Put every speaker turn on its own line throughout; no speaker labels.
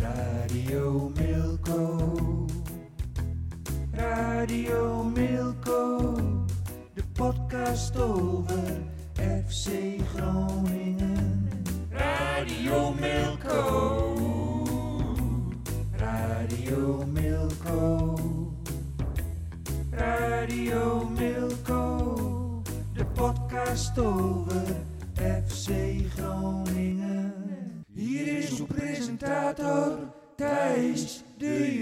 Radio Milko. Radio Milko. De podcast over FC Groningen. Radio Milko. Radio Milko. Radio Milko. De podcast over FC Groningen. Hier is uw presentator Thijs de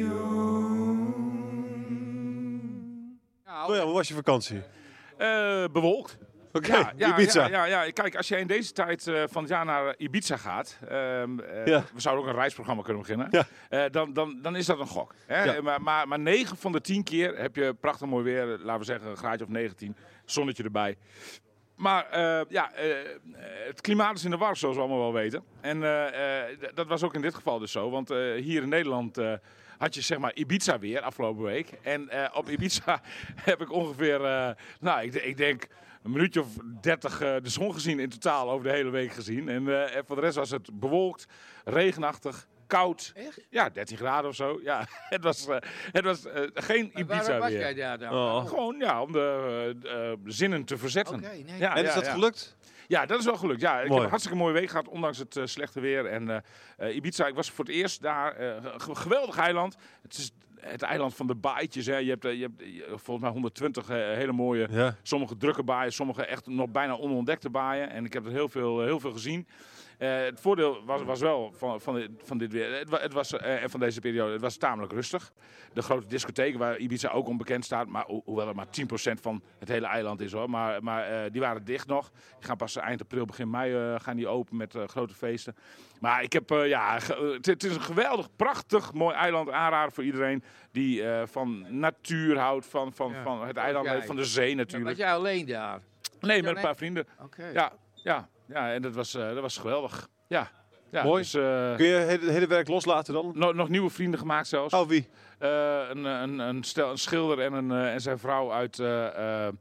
Jong.
Oh ja, hoe was je vakantie?
Eh, bewolkt.
Oké,
Ja, ja,
Ibiza.
Ja, ja, ja. kijk, als jij in deze tijd eh, van het jaar naar Ibiza gaat, ehm, eh,
Ja.
we zouden ook een reisprogramma kunnen beginnen,
Ja.
eh, dan, dan, dan is dat een gok. Hè? Eh,
Ja.
Maar, maar, maar 9 van de 10 keer heb je prachtig mooi weer, eh, laten we zeggen een graadje of 19, zonnetje erbij. Maar eh, ja, eh, het klimaat is in de war, zoals we allemaal wel weten. En eh, eh, d- dat was ook in dit geval dus zo. Want eh, hier in Nederland eh, had je zeg maar Ibiza weer afgelopen week. En eh, op Ibiza heb ik ongeveer, eh, nou, ik, d- ik denk een minuutje of dertig eh, de zon gezien in totaal over de hele week gezien. En eh, en voor de rest was het bewolkt, regenachtig. Koud. Ja, 13 graden of zo. Ja, het was, eh, het was eh, geen Ibiza
Waarom was
weer.
jij daar dan?
Oh.
Gewoon ja, om de eh, eh, zinnen te verzetten.
Oké, nee.
En
ja,
is
ja,
dus dat
ja.
gelukt?
Ja, dat is wel gelukt. Ja, ik
Mooi.
heb een hartstikke mooie week gehad, ondanks het eh, slechte weer. En eh, eh, Ibiza, ik was voor het eerst daar. eh, ge- ge- geweldig eiland. Het is het eiland van de baaitjes. Hè. Je hebt, eh, je hebt eh, volgens mij 120 eh, hele mooie,
Ja.
sommige drukke baaien, sommige echt nog bijna onontdekte baaien. En ik heb er heel veel, heel veel gezien. Eh, het voordeel was, was wel van, van, dit- van dit weer het, wa- het was, eh, en van deze periode, het was tamelijk rustig. De grote discotheek waar Ibiza ook onbekend staat, maar ho- hoewel het maar 10% van het hele eiland is hoor. Maar, maar eh, die waren dicht nog. Die gaan pas eind april, begin mei eh, gaan die open met eh, grote feesten. Maar ik heb, eh, ja, ge- eh, het, het is een geweldig, prachtig, mooi eiland aanraden voor iedereen die eh, van natuur houdt, van, van,
Ja.
van het eiland,
Jij.
eh, van de zee
Was
natuurlijk.
jij alleen daar?
Nee, met een
alleen?
paar vrienden.
Oké.
Ja, ja, ja en dat was, eh, dat was geweldig. Ja, ja
Mooi.
dus, eh,
Kun je het hele, hele werk loslaten dan?
nog, nog nieuwe vrienden gemaakt zelfs.
Oh, wie?
Eh, een, een, een, stel, een schilder en, een, eh, en zijn vrouw uit eh, eh,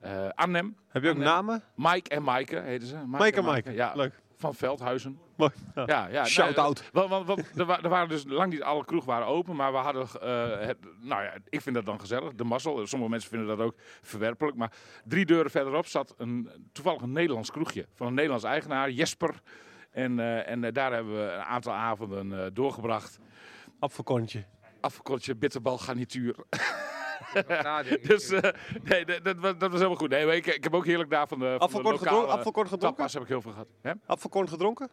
eh, Arnhem.
Heb je ook
Ah, nee.
namen?
Mike en Maaike heten ze. Mike,
Mike en Mike.
Ja,
Leuk.
van Veldhuizen.
Mooi.
Ja, ja.
Shout-out.
Nou, eh, want- want- want er, wa- er waren dus lang niet alle kroeg waren open, maar we hadden, eh, het, nou ja, ik vind dat dan gezellig, de mazzel. Sommige mensen vinden dat ook verwerpelijk, maar drie deuren verderop zat een, toevallig een Nederlands kroegje van een Nederlands eigenaar, Jesper. En, eh, en eh, daar hebben we een aantal avonden eh, doorgebracht.
Apfelkorntje.
Afgekortje bitterbalgarnituur.
Nadenken.
Dus eh, nee, dat, dat, was- dat was helemaal goed. Nee, maar ik, ik heb ook heerlijk daar van de, van de
Afvalkorn
lokale
gedronken? Afvalkorn gedronken?
tapas heb ik heel veel gehad. Hè?
Apfelkorn gedronken?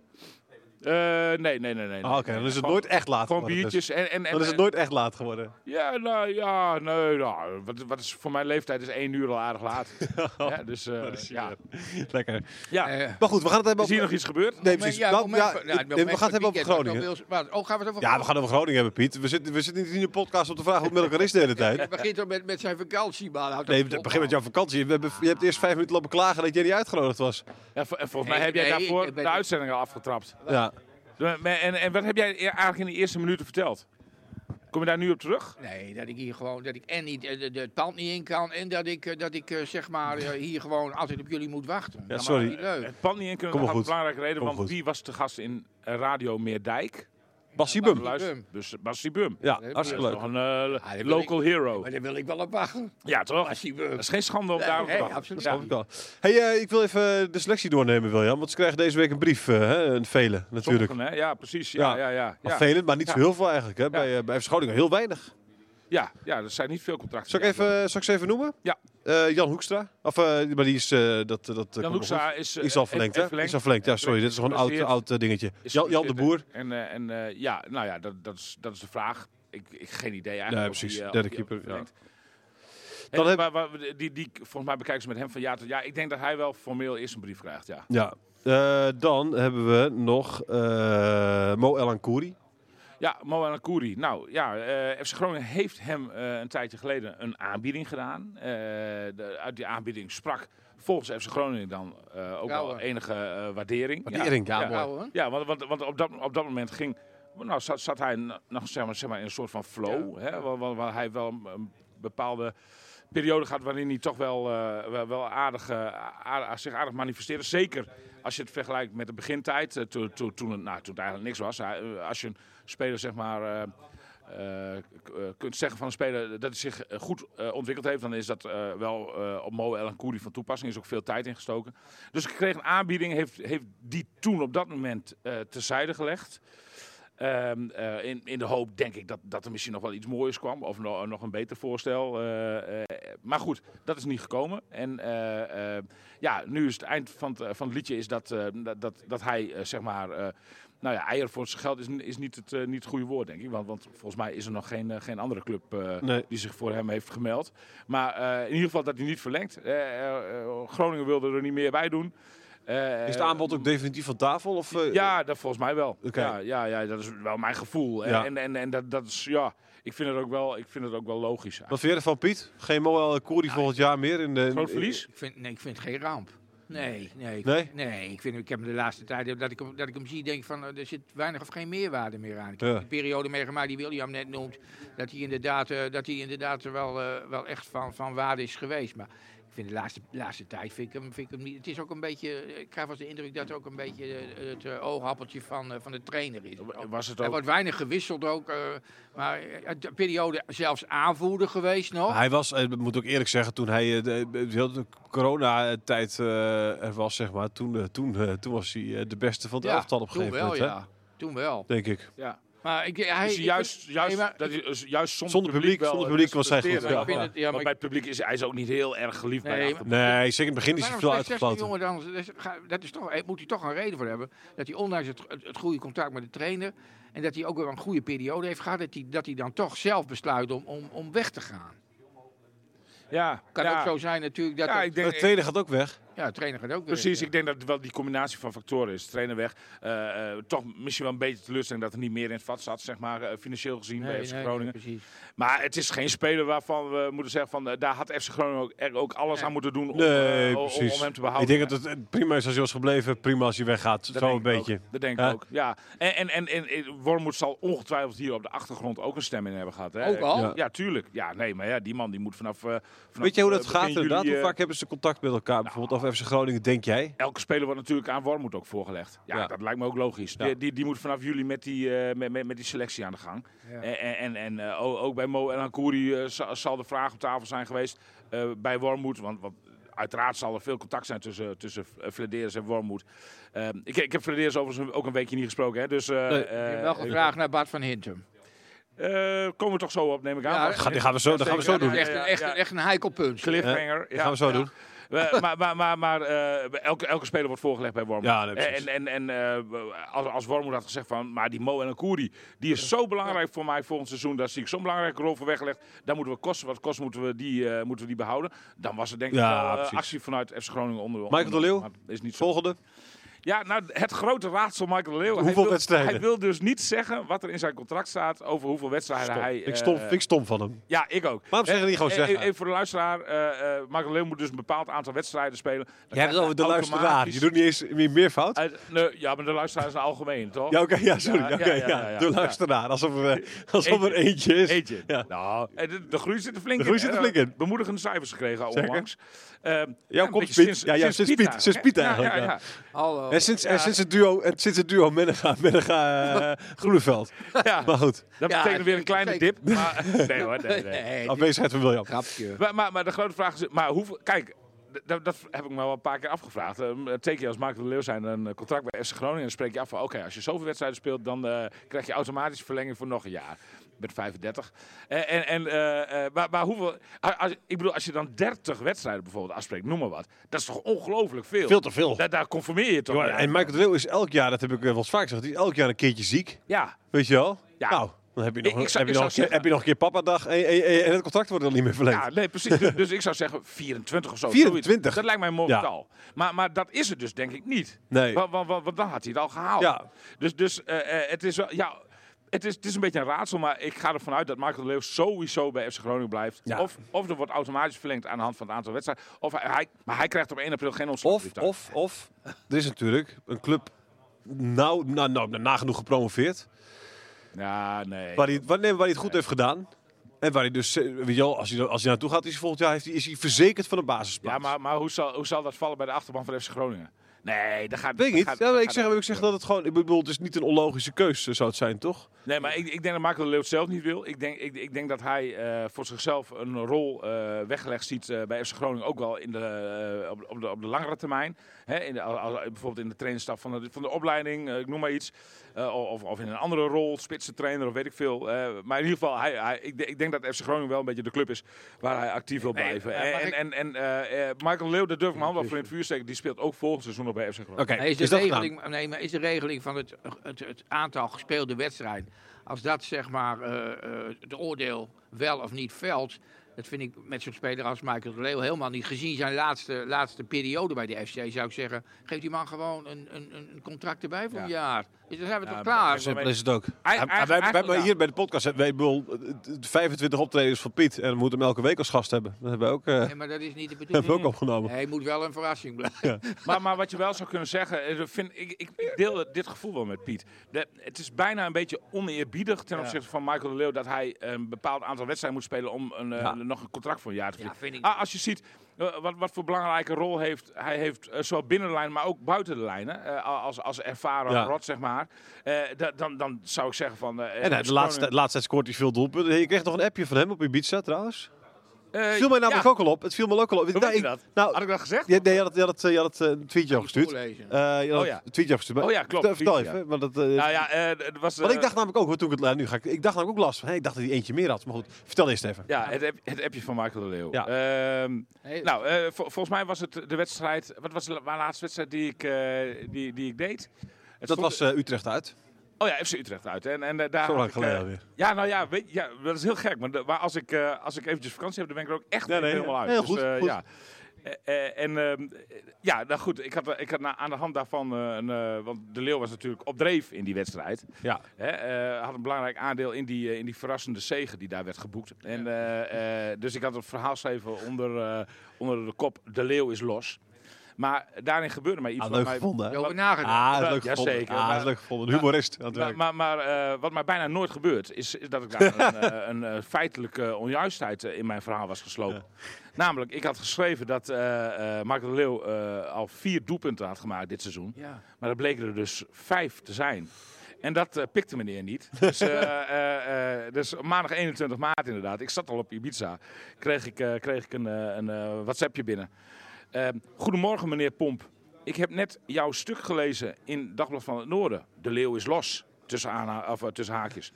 Eh, nee, nee, nee. nee.
Ah, Oké, dan is het
Gewoon-
nooit echt laat
Gewoon
geworden. dus.
biertjes en, en, en
Dan is het nooit echt laat geworden.
Ja, nou ja, nee, nou, wat, wat is voor mijn leeftijd is één uur al aardig laat. ja, dus eh, ja.
Lekker.
ja.
Eh,
Maar goed, we gaan het hebben
Is hier nog
over...
iets gebeurd?
Nee,
moment-
precies.
ja,
Nou,
moment
ja,
van-
nee,
ja,
we
moment
gaan het
van
hebben over
weekend, wat
Groningen.
dan wil- wat- Oh, gaan we het over
Ja, we gaan het over Groningen hebben, Piet. We zitten, we zitten niet in de podcast om te vragen hoe het met elkaar is de hele tijd.
Het begint toch met, met zijn vakantie, maar houdt
Nee,
toch op,
begin met
man.
jouw vakantie. We hebben, je hebt eerst vijf minuten lopen klagen dat jij niet uitgenodigd was.
En, vo- en volgens
Nee,
mij heb jij
nee,
daarvoor
ik ben-
de uitzending al afgetrapt.
Ja.
En, en, en wat heb jij e- eigenlijk in de eerste minuten verteld? Kom je daar nu op terug?
Nee, dat ik hier gewoon, dat ik en niet eh, de, de- het pand niet in kan en dat ik, eh, dat ik eh, zeg maar eh, hier gewoon altijd op jullie moet wachten. Nou, Dat maakt
sorry.
niet leuk.
Het pand niet in kunnen,
Kom maar
dat had een
goed.
belangrijke reden,
Kom maar
want
goed.
wie was te gast in eh, Radio Meerdijk?
Bas Siebum.
Luister,
Bum.
dus Basti Bum.
Ja, hartstikke
Dat is
leuk.
nog een eh,
Ah, dat wil
local hero.
Maar daar wil ik wel op wachten.
Ja, toch?
Als hij
Dat is geen schande om daarop te
Nee,
wachten.
absoluut.
Snap ik wel. Hey, eh, ik wil even eh, de selectie doornemen, William. Want ze krijgen deze week een brief. eh, hè, een vele, natuurlijk.
Sommigen, hè? Ja, precies.
Ja.
Ja, ja, ja.
Maar
Ja, ja.
vele, maar niet zo heel veel eigenlijk. Hè? Bij, eh, bij FC Groningen heel weinig.
ja, er zijn niet veel contracten.
Zal ik, even, zal ik ze even noemen?
Ja.
Eh, Jan Hoekstra. Of, eh, maar die is... eh, dat, dat, komt nog
Jan Hoekstra is,
goed.
eh,
Is al
heeft-
verlengd,
heeft
hè? Is al verlengd. Ja, sorry. Dit is gewoon een oud,
Geblesseerd.
oud eh, dingetje.
Is
Jan, Jan de Boer.
En, eh, en eh, ja, nou ja, dat, dat, is, dat is de vraag. Ik, ik geen idee eigenlijk.
Nee,
of
precies.
die, eh,
Derde
of die ook
keeper, ja.
verlengt.
Dan
En
heb-
waar- waar we- die, die, volgens mij bekijken ze met hem van ja tot ja. Ik denk dat hij wel formeel eerst een brief krijgt, ja.
Ja. Eh, dan hebben we nog eh Mo El Ankouri.
Ja, Moana Kouri. Nou ja, eh, FC Groningen heeft hem eh, een tijdje geleden een aanbieding gedaan. Eh, de, uit die aanbieding sprak volgens FC Groningen dan eh, ook wel
Rauwe.
enige eh, waardering.
Waardering, ja, mooi.
Nou, hoor.
Ja, want, want, want op, dat, op dat moment ging. Nou, zat, zat hij n- nog zeg maar, zeg maar in een soort van flow. Hè, waar, waar- waar hij wel een- een bepaalde periode gaat waarin hij toch wel, eh, wel, wel aardig, eh, aar- zich aardig manifesteerde. Zeker als je het vergelijkt met de begintijd, eh, to- to- toen, het, nou, toen het eigenlijk niks was. Hij, eh, als je een speler zeg maar. eh, eh, k- eh, kunt zeggen van een speler dat hij zich eh, goed eh, ontwikkeld heeft, dan is dat eh, wel eh, op Mo El Koeri van toepassing. Er is ook veel tijd ingestoken. Dus ik kreeg een aanbieding, heeft, heeft die toen op dat moment eh terzijde gelegd. Ehm, eh, in, in de hoop, denk ik, dat, dat er misschien nog wel iets mooiers kwam. Of no- nog een beter voorstel. Eh, eh, maar goed, dat is niet gekomen. En eh, eh, ja, nu is het eind van het, van het liedje is dat, eh, dat, dat, dat hij, eh, zeg maar... eh, nou ja, eier voor zijn geld is, n- is niet, het, eh, niet het goede woord, denk ik. Want, want volgens mij is er nog geen, eh, geen andere club eh,
Nee.
die zich voor hem heeft gemeld. Maar eh, in ieder geval dat hij niet verlengt. Eh, eh, eh, Groningen wilde er niet meer bij doen. Eh,
Is het aanbod ook definitief van tafel? Of, eh,
ja, dat volgens mij wel.
Oké.
Ja, ja, ja, dat is wel mijn gevoel. En,
Ja.
en, en, en dat, dat is, ja, ik vind het ook wel, ik vind het ook wel logisch.
Wat vind je ervan, Piet? Geen Moel Koeri volgend jaar meer? In de,
Groot verlies?
Ik vind, nee, ik vind het geen ramp. Nee, nee. Ik,
Nee?
ik, vind, ik heb hem de laatste tijd, dat ik, hem- dat ik hem zie, denk van, eh, er zit weinig of geen meerwaarde meer aan. Ik
Ja.
heb die periode meegemaakt die William net noemt, dat hij inderdaad, eh, dat hij inderdaad wel, eh, wel echt van, van waarde is geweest. Maar ik vind de laatste, laatste tijd, vind ik, hem, vind ik hem niet, het is ook een beetje, eh, ik krijg wel eens de indruk dat het ook een beetje eh, het eh, oogappeltje van, eh, van de trainer is.
Was het
Er
ook?
wordt weinig gewisseld ook, eh, maar eh, de periode zelfs aanvoerder geweest
Oh.
nog.
Hij was, eh, ik moet ook eerlijk zeggen, toen hij eh, de, de hele coronatijd eh, er was, zeg maar, toen, eh, toen, eh, toen was hij eh, de beste van het elftal op een
toen
gegeven
wel,
moment. hè?
ja. Toen wel.
Denk ik.
Ja.
Maar ik, hij,
Dus
ik-
juist, juist,
nee, maar
dat is, is juist zonder,
Zonder publiek,
wel,
zonder
eh,
publiek was hij
presteren.
goed, ja.
Ja,
Ik vind
het- ja, maar
Want
ik-
bij het publiek is hij is ook niet heel erg geliefd bij de
Nee,
achterban.
Nee, zeker in het begin is hij
waarom
veel
slechts 16
uitgefloten.
jongen dan? Dat, is, ga- dat is toch, eh, moet hij toch een reden voor hebben. Dat hij ondanks het, het, het goede contact met de trainer. En dat hij ook wel een goede periode heeft gehad. Dat hij, dat hij dan toch zelf besluit om, om, om weg te gaan.
Ja,
Kan
ja.
ook zo zijn natuurlijk. Dat
Ja,
het-
ik
Maar
denk,
de Eh, tweede gaat ook weg.
ja de trainer gaat ook weer.
Precies, ik denk dat het wel die combinatie van factoren is. Trainer weg, eh, eh, toch misschien wel een beetje teleurstelling dat er niet meer in het vat zat, zeg maar, eh, financieel gezien bij FC Groningen.
precies.
Maar het is geen speler waarvan we moeten zeggen van eh, daar had FC Groningen ook, er ook alles
Nee.
aan moeten doen om,
Nee,
eh, om-
precies.
om hem te
ik
behouden.
denk dat het eh, prima is als hij was gebleven, prima als hij weggaat.
Dat
Zo een
denk ik ook.
beetje.
Dat denk
Ja.
ik ook, ja. En, en, en, en eh, Wormoed zal ongetwijfeld hier op de achtergrond ook een stem in hebben gehad. Hè?
Ook al?
Ja. Ja, tuurlijk. Ja, nee, maar ja, die man die moet vanaf... eh, vanaf,
Weet je hoe dat
eh,
gaat
begin juli,
inderdaad? Hoe
eh, Nou,
vaak hebben ze contact met elkaar? Bijvoorbeeld of FC Groningen, denk jij?
Elke speler wordt natuurlijk aan Wormoed ook voorgelegd. Ja,
Ja.
dat lijkt me ook logisch.
Ja.
Die, die, die moet vanaf juli met die, eh, met, met, met die selectie aan de gang. En, en- en, en eh, o- ook bij Mo en Ankouri eh, zal de vraag op tafel zijn geweest eh, bij Wormoed. Want, want uiteraard zal er veel contact zijn tussen, tussen eh, Flederis en Wormoed. Ehm, ik, ik heb Flederis overigens ook een weekje niet gesproken. Hè, dus eh,
Nee.
eh,
wel gevraagd naar Bart van Hintem.
eh, komen we toch zo op, neem ik aan.
Ja,
Want-
dat
Ga, die gaan we zo, dat gaan we zo
zeker.
doen.
Dat is echt, een- echt, een- echt een heikel punt.
Cliffhanger.
dat Eh, gaan we zo doen.
We- maar maar, maar, maar eh, elke, elke speler wordt voorgelegd bij Wormoed.
Ja, nee, precies.
en en, en eh, als, als Wormoed had gezegd van, maar die Mo en Koeri, die is zo belangrijk voor mij volgend seizoen. Daar zie ik zo'n belangrijke rol voor weggelegd. Daar moeten we kosten, wat kost moeten we die, eh, moeten we die behouden. Dan was het denk ik
Ja,
wel, eh,
precies.
actie vanuit FC Groningen onder.
Michael de Leeuw?
Maar Is niet zo.
Volgende.
Ja, nou, het grote raadsel Michael de Leeuw. Hij
Hoeveel
wil-
wedstrijden?
Hij wil dus niet zeggen wat er in zijn contract staat over hoeveel wedstrijden
Stom.
hij...
Vind ik,
eh,
stom, vind ik stom van hem.
ja, ik ook.
Waarom zeggen die gewoon
Eh,
zeggen?
eh, Even voor de luisteraar. eh eh Michael Leeuw moet dus een bepaald aantal wedstrijden spelen. Dan
Jij hebt
krijgt
het over de
hij
luisteraar.
automatisch-
Je doet niet eens meer meervoud.
Uit- nee, ja, maar de luisteraar is een algemeen, toch?
Ja, oké, ja, sorry.
Ja,
Oké,
ja,
ja,
ja, ja, ja.
De luisteraar, alsof er, eh, alsof er eentje is.
Eentje.
Ja.
Nou, eh, de, de groei zit er flink
De groei
in.
zit
hè.
er flink in.
Bemoedigende cijfers gekregen
Zeker.
onlangs. Ehm,
Jouw
een
komt
beetje
Piet. Ja, ja, sinds Piet-
eigenlijk,
sinds
hè?
Piet
Ja,
eigenlijk,
ja,
ja.
oh, ja.
Hallo.
En sinds, en sinds het duo, en sinds het duo Menega, Menega eh, Groeneveld.
Ja,
Maar goed,
dat
Ja,
betekent weer een
zeker,
kleine
zeker.
dip. Maar, nee hoor, nee, nee.
Nee, dit is
afwezigheid van William.
een grapje.
Maar, maar, maar de grote vraag is, maar hoeveel, kijk, d- dat, dat heb ik me wel een paar keer afgevraagd. Eh, teken je als Marco de Leeuw zijn een eh, contract bij FC Groningen en dan spreek je af van, oké, als je zoveel wedstrijden speelt, dan eh, krijg je automatisch verlenging voor nog een jaar. Met 35. Eh, En, en, eh, eh, maar, maar hoeveel, a- als, ik bedoel, als je dan 30 wedstrijden bijvoorbeeld afspreekt, noem maar wat, dat is toch ongelooflijk veel?
Veel te veel.
Daar, daar conformeer je toch
Jongen,
niet aan?
En Michael de Leeuw is elk jaar, dat heb ik eh, wel eens vaak gezegd, die is elk jaar een keertje ziek.
Ja,
Weet je wel?
Ja.
Nou, dan heb je nog,
Ik- ik zou-
heb je
ik
nog,
zou
een keer-
zeggen-
heb je nog een keer papadag en, en, en- en het contract wordt dan niet meer verlengd.
Ja, nee, precies. dus, dus ik zou zeggen 24 of zo.
24.
zoiets. Dat lijkt mij een mooi
Ja.
getal. Maar, maar dat is het dus denk ik niet.
Nee.
nou, Want, want, want- want dan had hij het al gehaald.
Ja.
Dus, dus eh, eh, het is wel... Ja, het, is, het is een beetje een raadsel, maar ik ga ervan uit dat Michael de Leeuw sowieso bij FC Groningen blijft.
Ja.
Of, of er wordt automatisch verlengd aan de hand van het aantal wedstrijden. Of hij, hij- maar hij krijgt op 1 april geen ontslag.
Of, of, of, er is natuurlijk een club nou, nou, nou, nagenoeg gepromoveerd.
Ja, nee.
Waar hij, waar, nee, waar hij het goed heeft gedaan. En waar hij dus, eh, weet je wel, als hij, als hij naartoe gaat, is hij volgend jaar heeft hij, is hij verzekerd van een basisplaats.
Ja, maar, maar hoe, zal, hoe zal dat vallen bij de achterban van FC Groningen? Nee, dat gaat
Weet ik
dat
niet.
gaat-
ja,
dat
maar ik,
gaat-
zeg, ik zeg dat het gewoon, ik bedoel, het is niet een onlogische keus eh, zou het zijn, toch?
Nee, maar ik, ik denk dat Marco de Leeuw het zelf niet wil. Ik denk, ik, ik denk dat hij eh, voor zichzelf een rol eh, weggelegd ziet eh, bij FC Groningen. Ook wel in de, eh, op, op de, op de langere termijn. Hè, in de, als- als- bijvoorbeeld in de trainingsstaf van de, van de opleiding, eh, ik noem maar iets. Eh, of, of in een andere rol, spitsentrainer of weet ik veel. Eh, maar in ieder geval, hij, hij, ik, denk- ik denk dat FC Groningen wel een beetje de club is waar hij actief wil blijven.
eh, mag
en
ik-
en, en eh, eh, Michael de Leeuw, daar durf ik mijn hand wel voor in het vuur steken. Die speelt ook volgend seizoen nog bij FC Groningen.
Oké,
Maar is de,
is dat gedaan?
regeling, nee, maar is de regeling van het, het, het aantal gespeelde wedstrijden, als dat zeg maar eh, eh, het oordeel wel of niet velt, dat vind ik met zo'n speler als Michael de Leeuw helemaal niet. Gezien zijn laatste, laatste periode bij de FC zou ik zeggen, geef die man gewoon een, een, een contract erbij voor een jaar. Dus dan zijn we toch klaar.
Simpel is het ook.
Eigen-
Ja, maar wij- wij-
eigenlijk-
maar hier bij de podcast, hebben wij, ik bedoel, eh, eh, 25 optredens van Piet en we moeten hem elke week als gast hebben. Dat hebben we ook, eh,
Nee, maar dat is niet de
hebben we
bedoeling.
ook opgenomen.
Hij moet wel een verrassing blijven.
Maar, maar wat je wel zou kunnen zeggen, eh, dat vind, ik, ik ik deel het- dit gevoel wel met Piet. De- het is bijna een beetje oneerbiedig ten opzichte van Michael de Leeuw dat hij een bepaald aantal wedstrijden moet spelen om een, eh,
Ja.
nog een contract voor een jaar te
Ja,
verdienen.
vind ik.
Ah, als je ziet eh, wat, wat voor belangrijke rol heeft, hij heeft eh, zowel binnen de lijn, maar ook buiten de lijnen, eh, als, als ervaren
Ja.
rot zeg maar, eh, da- dan, dan zou ik zeggen van... eh,
En hij, de
Groningen-
laatste, de laatste tijd scoort hij veel doelpunten. Je kreeg nog een appje van hem op Ibiza trouwens.
Eh,
Het viel mij namelijk
ja.
ook al op. Het viel me ook al op.
Hoe weet
Nou,
je
ik-
dat?
Nou,
Had ik dat gezegd?
je, nee, je had, het- je had, het, eh, je had het, eh, een tweetje al gestuurd. Eh,
Voorlezen.
je had
Oh ja.
het- een tweetje al gestuurd. maar-
Oh ja, klopt,
Vertel
tweetje,
even. Want, dat, eh,
Nou ja, eh, het was...
want ik
eh,
dacht namelijk ook, hoor, toen ik het nou, nu ga ik, ik dacht namelijk ook last van. Hey, ik dacht dat hij eentje meer had. Maar goed, vertel eerst even.
Ja, het, app- het appje van Michael de Leeuw.
Ja.
Ehm,
Nee,
Nou, eh, vo- volgens mij was het de wedstrijd. Wat was de la- laatste wedstrijd die ik, eh, die, die ik deed? Het
dat
stond-
was eh, Utrecht uit.
Oh ja, FC Utrecht uit. En, en, eh, daar
Zo
had
lang
ik, eh,
geleden alweer.
ja, nou ja, weet, ja, dat is heel gek. Maar, de- maar als, ik, eh, als ik eventjes vakantie heb, dan ben ik er ook echt
Ja, nee,
helemaal uit.
heel goed,
eh,
goed.
Ja. Eh, eh, en ehm, ja, nou goed, ik had, eh, ik had na- aan de hand daarvan, eh, een, eh, want De Leeuw was natuurlijk op dreef in die wedstrijd.
Ja.
Hè, eh, had een belangrijk aandeel in die, eh, in die verrassende zege die daar werd geboekt. En, eh, eh, dus ik had het verhaal geschreven onder, eh, onder de kop De Leeuw is los. Maar daarin gebeurde mij iets.
Ah,
wat
leuk
mij-
gevonden. hè?
je over nagedacht.
Ah, dat is leuk
Ja,
gevonden.
zeker.
Ah, dat is
Maar-
leuk gevonden. Een humorist aan het
maar
werk.
maar, maar eh, wat mij bijna nooit gebeurt, is, is dat ik daar een, eh, een eh, feitelijke onjuistheid eh, in mijn verhaal was geslopen. Namelijk, ik had geschreven dat eh eh Marco de Leeuw eh, al vier doelpunten had gemaakt dit seizoen.
Ja.
Maar dat bleken er dus vijf te zijn. En dat eh, pikte meneer niet. Dus, eh, eh, eh, dus maandag 21 maart inderdaad. Ik zat al op Ibiza. Kreeg ik, eh, kreeg ik een, eh, een eh, WhatsAppje binnen. Ehm, Goedemorgen meneer Pomp. Ik heb net jouw stuk gelezen in Dagblad van het Noorden. De leeuw is los. Tussen, aanha- of, eh, tussen haakjes.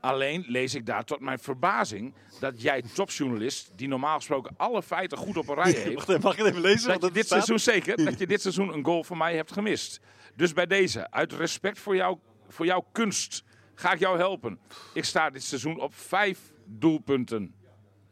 Alleen lees ik daar tot mijn verbazing dat jij topjournalist, die normaal gesproken alle feiten goed op een rij heeft,
Wacht even, Mag ik het even lezen?
dat
Want
je dit
staat-
seizoen zeker, dat je dit seizoen een goal van mij hebt gemist. Dus bij deze, uit respect voor, jou, voor jouw kunst, ga ik jou helpen. Ik sta dit seizoen op vijf doelpunten.